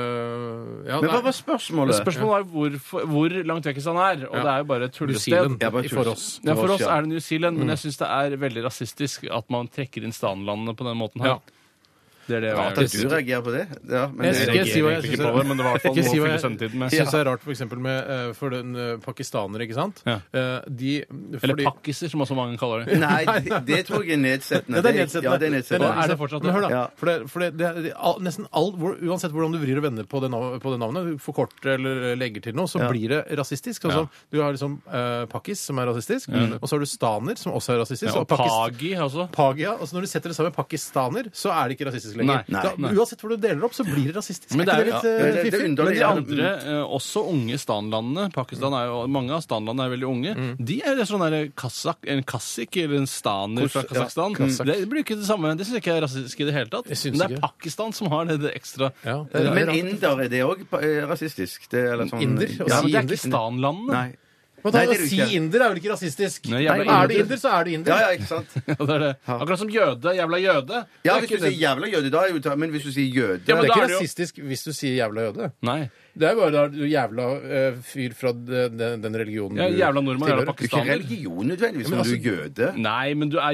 Eh, ja, Men hva nei, var spørsmålet? Spørsmålet er hvorfor, hvor langt vekk han er. Og Ja. det er jo bare et New tullested. Zealand Ja, bare for tusen. oss. Ja, For oss ja. er det New Zealand, men jeg syns det er veldig rasistisk at man trekker inn stanlandene på den måten her. Ja. Det er det Ja, jeg det gjør. er Du reagerer på det? Ja, men Jeg Jeg skal si hva jeg synes reagerer egentlig ikke er- på det, men det var i hvert fall Ikke si noe å hva fylle jeg- søvntiden med. Jeg syns det er rart for eksempel med eh, for den eh, pakistanere, ikke sant? Ja. Eh, de, Eller fordi- pakkiser, som også mange kaller det. Nei, det, det tror jeg er nedsettende. Ja, det er nedsettende. Ja, det er nedsettende. Men er det fortsatt det? Men hør da, Ja. for det, for det, det, er- det, all, nesten all, hvor, Uansett hvordan du vrir og vender på det, nav, på det navnet, du forkorter eller legger til noe, så blir det rasistisk. Sånn Ja. som Du har liksom eh, pakkis, som er rasistisk, og så har du staner, som også er rasistisk. Ja, og og pakis- Pagi også. Pagia, altså Når du setter det sammen med pakistaner, så er det ikke rasistisk lenger. Nei, nei, da, nei. Uansett hvor du deler det opp, så blir det rasistisk. Men det ikke er jo- litt eh, ja, det- det fiffig? undrer- Men de ja, andre- Andre, eh, også unge stanlandene Pakistan er jo, Mange av stanlandene er veldig unge. De er jo sånn der kassak, en kassik eller en staner fra Kos- ja, Kasakhstan. kassak. Det blir jo ikke det samme. Det syns jeg ikke er rasistisk i det hele tatt. Jeg synes Men det er ikke. Pakistan som har det, det ekstra. ja, det er Men rart. inder, er det òg rasistisk? Det, er eller sånn, Inder? Ja, Ja, men Si det er inder. ikke stanlandene. nei. Men ta, Nei, det er Si det ikke. inder er vel ikke rasistisk? Nei, jeg ble er du inder. inder, så er du inder. Ja, ja, ikke sant? Ja, (laughs) det er det. Akkurat som jøde. Jævla jøde. Ja, Det er hvis du sier ikke det. jævla jøde, da er jo ta- Men hvis du sier jøde Ja, Det er men da ikke er det jo- rasistisk hvis du sier jævla jøde. Nei. Det er bare da du jævla eh, fyr fra den, den religionen Ja, jævla nordmann, jævla Du er ikke pakistaner. religion nødvendigvis, men altså- du er jøde. Nei, men du er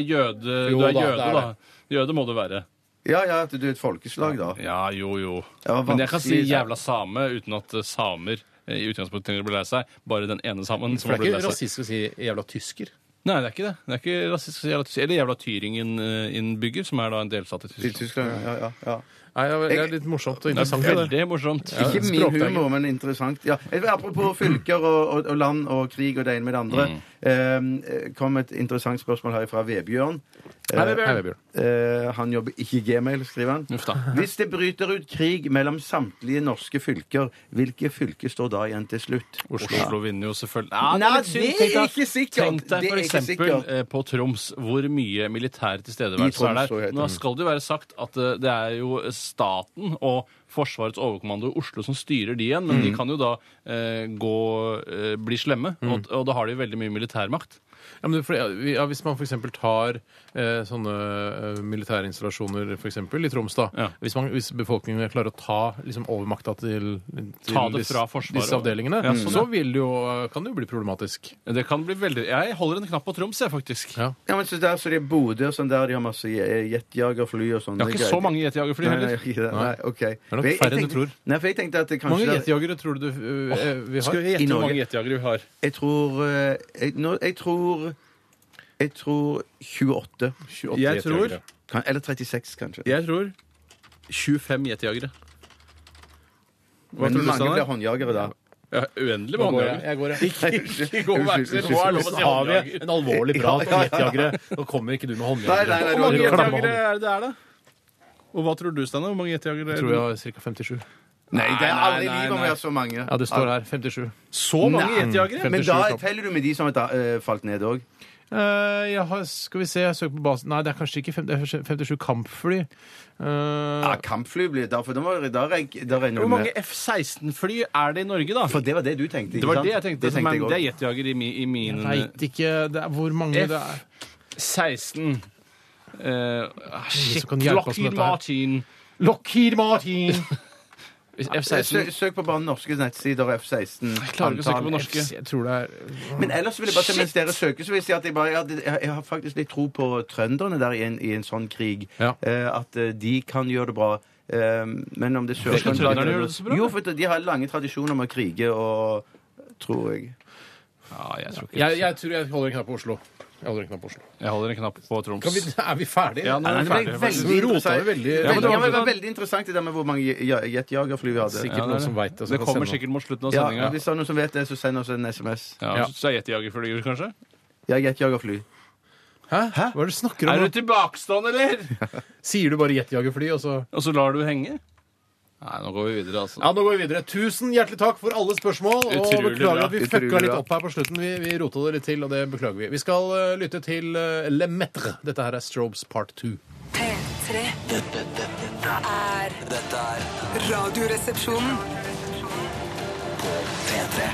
Jo jøde, du da, er det jøde er da. Jøde må du være. Ja, ja, at du er et folkeslag, da. Ja, jo, jo. Det var Men jeg kan si vanskelig, da. 'jævla same' uten at eh, samer eh, i utgangspunktet trenger å bli lei seg. Bare den ene samen som For har det er blitt lei ikke seg. rasistisk å si jævla tysker. Nei, det er ikke det. Det er ikke rasistisk. å si Jævla, tysker. eller jævla Tyringen-innbygger, som er da en delstat i I Tyskland. Tyskland, ja, ja, ja. Nei, det er litt morsomt og Det er interessant. det der. veldig morsomt. Ikke min språkdagen. humor, men interessant. Ja. Eh, Apropos fylker og, og, og land og krig og det ene med det andre. Eh, kom et interessant spørsmål her fra Vebjørn. Eh, Hei, Vebjørn. eh, han jobber ikke i Gmail, skriver han. Uff da. Hvis det bryter ut krig mellom samtlige norske fylker, hvilke fylker står da igjen til slutt? Oslo, Oslo vinner jo selvfølgelig Nei, litt synd. det er Tenk deg- ikke sikkert. Tenk deg Det er for ikke eksempel sikkert. eh, på Troms, hvor mye militær I tilstedeværelse Troms, er så der. heter Nå det. skal det jo være sagt at eh, det er jo staten og Forsvarets overkommando i Oslo som styrer de igjen, men de Mm. kan jo da eh, gå, eh, bli slemme, og, og da har de veldig mye militærmakt. Ja, men det- for, ja, vi- ja, hvis man f.eks. tar eh, sånne eh, militære installasjoner for eksempel, i Troms, da. Ja. Hvis, man, hvis befolkningen klarer å ta liksom, overmakta til, til Ta det fra disse, Forsvaret. disse avdelingene, Ja, sånn, så ja. vil det jo, eh, kan det jo bli problematisk. Det kan bli veldig Jeg holder en knapp på Troms, jeg, faktisk. Ja. Ja, men så der, så de er Bodø og sånn der, de har masse je- jetjagerfly og sånn. Jeg har ikke så mange jetjagerfly Nei, nei, heller. ikke det. nei, ok. er nok Jeg færre enn du tenkte- tror. Nei, for jeg tenkte at det Hvor mange kanskje der- gjetjagere tror du eh, eh, vi har? Skal jeg I gjette hvor Norge. mange jetjagere vi har? Jeg tror eh, jeg, nå, jeg tror Jeg tror 28. 28 Jeg tror- gjetjagere. Kan, eller 36, kanskje. Jeg tror 25 jetjagere. Hva Men tror du, mange blir Steinar? håndjagere (laughs) da. Ja, uendelig mange Går jeg? jagere. Jeg går, jeg. Ikke gå og være så rå, er det lov å si Så har vi håndjager? en alvorlig prat om jetjagere. Nå kommer ikke du med Nei, nei, nei, håndjagere. Hvor mange det var- jetjagere er det det er, da? Og hva tror du, Steinar? Hvor mange jetjagere Jeg tror jeg har ca. 57. Nei, det er Nei, aldri nei, livet om nei. vi har så mange. Ja, det står her. 57. Så mange Nei. jetjagere? Men 57 da topp. teller du med de som har da, eh, falt ned òg. Eh, jeg har, skal vi se, jeg søker på basen Nei, det er kanskje ikke fem- det er 57 kampfly. Eh, Ja, Ah, kampfly blir da, for da, må- da, reg- da regner Hvor du med mange F-16-fly er det i Norge, da? For det var det du tenkte? ikke Det var sant? det jeg tenkte. jeg men det er også. jetjager i, mi, i min jeg veit ikke det er, hvor mange F. det er. 16. Eh, ah, shit. som kan hjelpe oss med Lockheed dette her. Martin. Lockheed Martin! F-16 Eh, Sø- Søk på bare norske nettsider F-16. klarer ikke å søke på antall. norske. Jeg tror det er Men ellers vil jeg bare si, mens dere søker, så vil jeg si at jeg, bare, jeg, hadde- jeg, jeg har faktisk litt tro på trønderne der i en, i en sånn krig. Ja. Eh, at eh, de kan gjøre det bra. Eh, men om det er Skal Sør-Trøndelag trønderne gjøre det så bra? Jo, for de har lange tradisjoner med å krige og Tror jeg. (laughs) Ja, jeg tror ikke jeg, jeg tror jeg holder en knapp på Oslo. Jeg holder en knapp på Oslo. Jeg holder en knapp på Troms. Kan vi, (laughs) er vi ferdige? Ja, nå Nei, det er vi ble ferdige. veldig faktisk. Du rotet interessant. det veldig. Veldig- Ja, men det var ja, men det sånn- var veldig interessant det der med hvor mange ja- jetjagerfly vi hadde. Sikkert noen som vet det, som det kan kommer sende. sikkert mot slutten av Ja, sendinga. hvis det er noen som vet det, så send oss en SMS. Ja, Ja. Så er jetjagerflyer, kanskje? Ja, jetjagerfly. Hæ? Hva er det du snakker Er om? du tilbakestående, eller? nå? Sier du bare jetjagerfly, og så Og så lar du henge? Nei, nå går vi videre, altså. Ja, nå går vi videre. Tusen hjertelig takk for alle spørsmål. Og Utrolig beklager bra. at vi Utrolig fucka litt bra. opp her på slutten. Vi, vi rota det litt til, og det beklager vi. Vi skal eh, lytte til eh, Le Metre. Dette her er Strobes part two. P3 Dette, dette, dette, er dette er Radioresepsjonen. P3.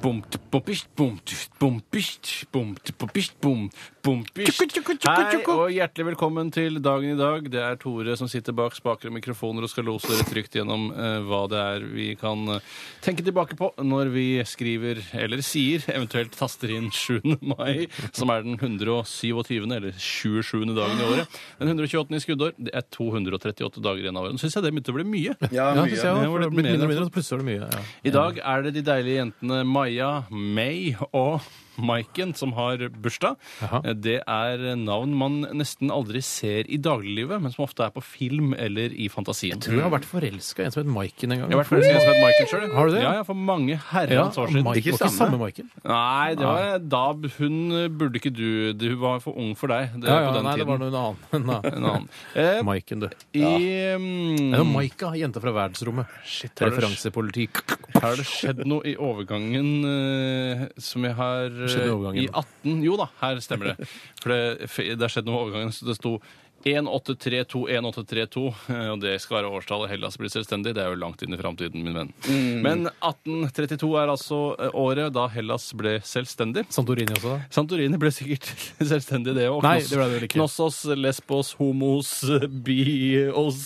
Bomt, bompist, bomt, bompist, bomt, bompist, bom, bompist. Hei, og hjertelig velkommen til dagen i dag. Det er Tore som sitter bak spaker og mikrofoner og skal lose dere trygt gjennom eh, hva det er vi kan eh, tenke tilbake på når vi skriver, eller sier, eventuelt taster inn 7. mai, som er den 127. eller 27. dagen i året. Den 128. i skuddår. Det er 238 dager igjen av året. Nå syns jeg det begynte å bli mye. Ja, Ja, mye. synes jeg Det også, var for det litt har blitt mer, mindre og mindre, og plutselig er det mye. Ja. I dag er det de deilige jentene Maja, May og Maiken som har bursdag. Jaha. Det er navn man nesten aldri ser i dagliglivet, men som ofte er på film eller i fantasien. Du har vært forelska i en som het Maiken en gang. Jeg har vært forelsket i en som het Maiken sjøl. Har du det? Ja, ja, for mange ja, herrens år Maiken. siden. Var ikke samme. samme Maiken. Nei, det var Dab. Hun eh, burde ikke du Hun var for ung for deg det, Ja, ja, på den nei, det var tiden. noen (laughs) annen. En annen. Eh, Maiken, du. I mm, Det er jo Maika, jenta fra verdensrommet. har du- Referansepoliti. Her har det skjedd noe i overgangen eh, som jeg har eh, Skjedd noe i overgangen. I 18 Jo da, her stemmer det. For det, f- det har skjedd noe i overgangen, så det sto 1832, 1832, eh, og det skal være årstallet Hellas blir selvstendig. Det er jo langt inn i framtiden, min venn. Mm. Men 1832 er altså eh, året da Hellas ble selvstendig. Santorini også, da? Santorini ble sikkert (laughs) selvstendig, det òg. Nei, det ble det vel ikke. Knossos, Lesbos, Homos, (laughs) Bios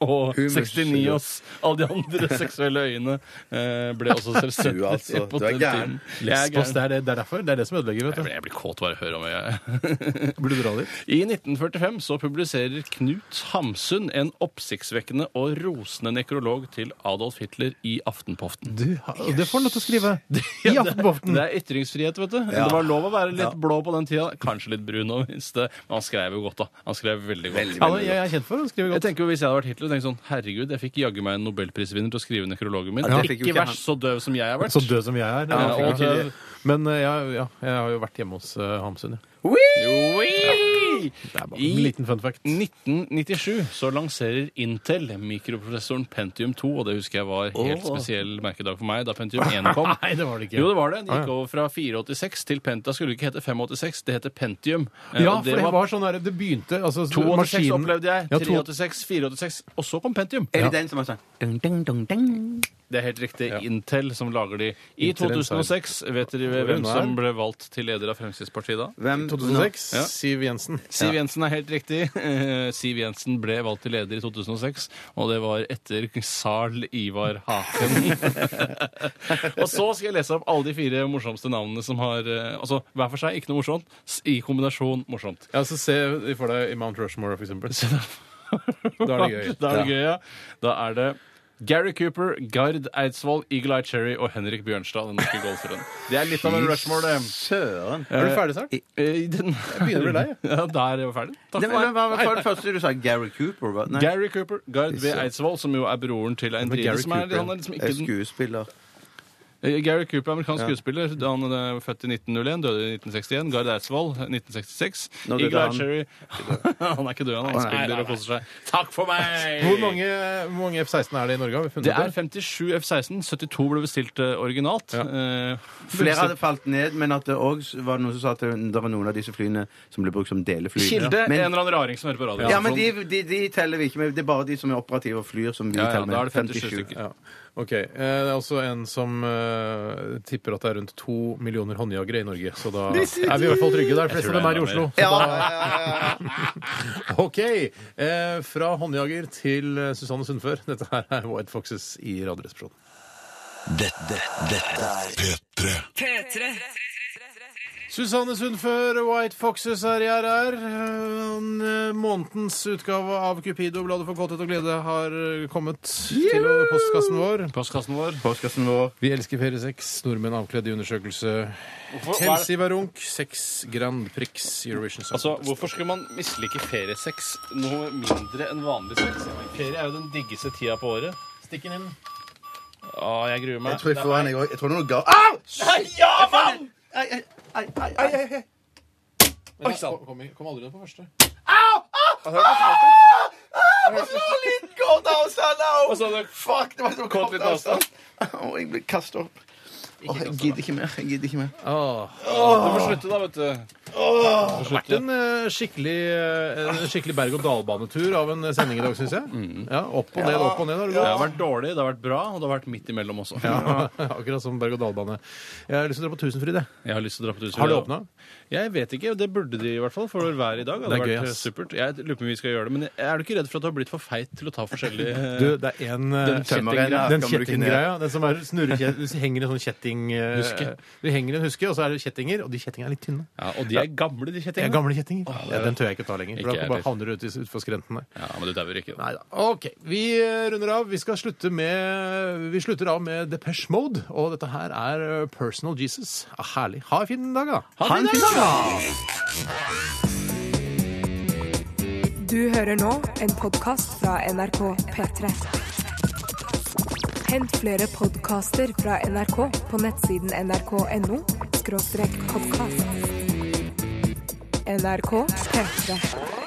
og Humus. 69os. Alle de andre (laughs) seksuelle øyene eh, ble også Du, selvstendige. altså, (laughs) på du er den gæren. tiden. Jeg er Lesbos, gæren. det er, det, det er derfor. Det er det som ødelegger, Jeg vet (laughs) blir- Jeg blir kåt bare jeg hører om det. du. Burde du dra dit? I 1945 så publiserer Knut Hamsun en oppsiktsvekkende og rosende nekrolog til Adolf Hitler i Aftenpoften. Du, har- det får han lov til å skrive (laughs) i Aftenpoften. Det er ytringsfrihet, vet du. Det var lov å være litt blå på den tida. Kanskje litt brun òg, hvis det Men han skrev jo godt, da. Han skrev veldig godt. Ja, jeg er kjent for å skrive Jeg godt. tenker jo Hvis jeg hadde vært Hitler, tenkte jeg sånn Herregud, jeg fikk jaggu meg en nobelprisvinner til å skrive nekrologen min. Ja, det fikk jo Ikke ikke han. verst så døv som jeg har vært. Så død som jeg er. Ja, Jeg og fikk ikke- døv. Men eh, jeg- ja, jeg har jo vært hjemme hos eh, Hamsun. ja. Joi! En I liten fun fact. 1997 så lanserer Intel mikroprosessoren Pentium 2, og det husker jeg var helt spesiell merkedag for meg da Pentium 1 kom. (laughs) (laughs) Nei, det var det ikke. Jo, det var det. Det Ah, gikk ja. over fra 486 til Penta. Skulle ikke hete 586, det heter Pentium. Eh, Ja, og for det var sånn der, det begynte altså, 286 maskinen- opplevde jeg. Ja, to- 386, 486, og så kom Pentium. Er det den som er sånn dung, dung, dung, dung? Det er helt riktig. Intel som lager de. I Intel Inside. 2006, vet dere hvem som ble valgt til leder av Fremskrittspartiet da? Hvem? 2006. Ja. Siv Jensen. Siv Jensen er helt riktig. Eh, Siv Jensen ble valgt til leder i 2006, og det var etter Sarl Ivar (laughs) Haken. og så skal jeg lese opp alle de fire morsomste navnene som har eh, Altså hver for seg ikke noe morsomt, s- i kombinasjon morsomt. Ja, så Se for deg i Mount Rushmore, for eksempel. Da er det (laughs) gøy. Da er det gøy, ja. Da er det Gary Cooper, Gard Eidsvoll, Eagle Eye Cherry og Henrik Bjørnstad, den norske golferen. Det er litt av en rushmore, det. Søren. Er du ferdig snart? Eh, Den... Jeg begynner å bli lei, (laughs) Ja, da er jeg ferdig. Takk Nei, for meg. men Hva var det første du sa? Gary Cooper? hva? Nei, Gary Cooper, Gard V. Eidsvoll, som jo er broren til Eindride, Gary som er, Cooper, han er liksom ikke den, skuespiller. Eh, Gary Cooper er amerikansk skuespiller. Han er født i 1901, døde i 1961. Gard Eidsvoll, 1966. Nå døde Eagle Eye han. Cherry (laughs) Han er ikke død, han. Han spiller og koser seg. Takk for meg! Hvor mange, hvor mange F-16 er det i Norge? Har vi funnet Det er ut 57 F-16. 72 ble bestilt eh, originalt. Eh, Flere hadde falt ned, men at det også var noen som sa at det det var noen av disse flyene som ble brukt som delefly. Kilde, Men- en eller annen raring som hører på radio. Ja, men de, de, de teller vi ikke med. Det er bare de som er operative og flyr, som vi Ja, ja, teller med. da er det 57 stykker. Ja. Ok, eh, Det er også en som eh, tipper at det er rundt to millioner håndjagere i Norge. Så da er vi i hvert fall trygge. Det er flest tror av dem det er er i enda Oslo. Ja, Så ja, da, ja, ja. ok, eh, Fra håndjager til eh, Susanne Sundfør. (laughs) Dette her er White Foxes i Radioresepsjonen. Dette, dette er P3. Susanne Sundfør, White Foxes her i RR. Eh, Månedens utgave av Cupido-bladet for kåthet og glede har eh, kommet til postkassen vår. Postkassen vår. Postkassen vår. Vi elsker ferie sex. Nordmenn avkledd i undersøkelse. Hvorfor, er det- Tensiva Runk, seks Grand Prix Eurovision Song altså, Contest. hvorfor skulle man mislike feriesex noe mindre enn vanlig sex? Ferie er jo den diggeste tida på året. Stikk den inn. Å, jeg gruer meg. Jeg tror jeg får en, jeg òg. Jeg tror det er noe ga... Au! Ja, mann! Ai, ai, ai, ai, ai, ai, ai. Oi, sann. Kom, kom- kom aldri ned på første. Kort avstand, au! Og så hadde Fuck, det var så Kort kort litt avstand. Å, jeg blir kastet opp. Å, jeg gidder ikke mer. Jeg gidder ikke mer. Du får slutte, da, vet du. Det har vært en eh, skikkelig, eh, en skikkelig berg-og-dal-banetur av en eh, sending i dag, syns jeg. Ja, Opp og ned, opp og ned. Har du Mm. Det gått. har vært dårlig, det har vært bra, og det har vært midt imellom også. (laughs) Akkurat som berg-og-dal-bane. Jeg har lyst til å dra på Tusenfryd. jeg. Jeg har lyst til å dra på tusen. Har det åpna? Jeg vet ikke. Det burde de i hvert fall, for været i dag hadde Det er gøy, vært ass. supert. Jeg lurer på om vi skal gjøre det, men er du ikke redd for at du har blitt for feit til å ta forskjellige (laughs) Du, det er en eh, kjettinggreia. Den tømmerrenna Den kan bruke kjettinggreia. Den som er (laughs) snurrekjet- Du henger i en sånn kjetting... eh, Huske. Du henger i en huske, og så er det kjettinger, og de kjettingene er litt tynne. Ja, Og de er gamle, de Det er kjettingene. gamle kjettinger. ja, den tør jeg ikke ta lenger. Ikke For da jeg bare heller. havner du ut i- utfor skrenten der. Ja, men du dauer ikke. da. Neida. OK. Vi eh, runder av. Vi skal slutte med Vi slutter av med Depeche Mode, og dette her er eh, Personal Jesus. Ah, herlig. Ha en fin dag, da. Ha en fin dag! Du hører nå en podkast fra NRK P3. Hent flere podkaster fra NRK på nettsiden nrk.no podkast. NRK P3.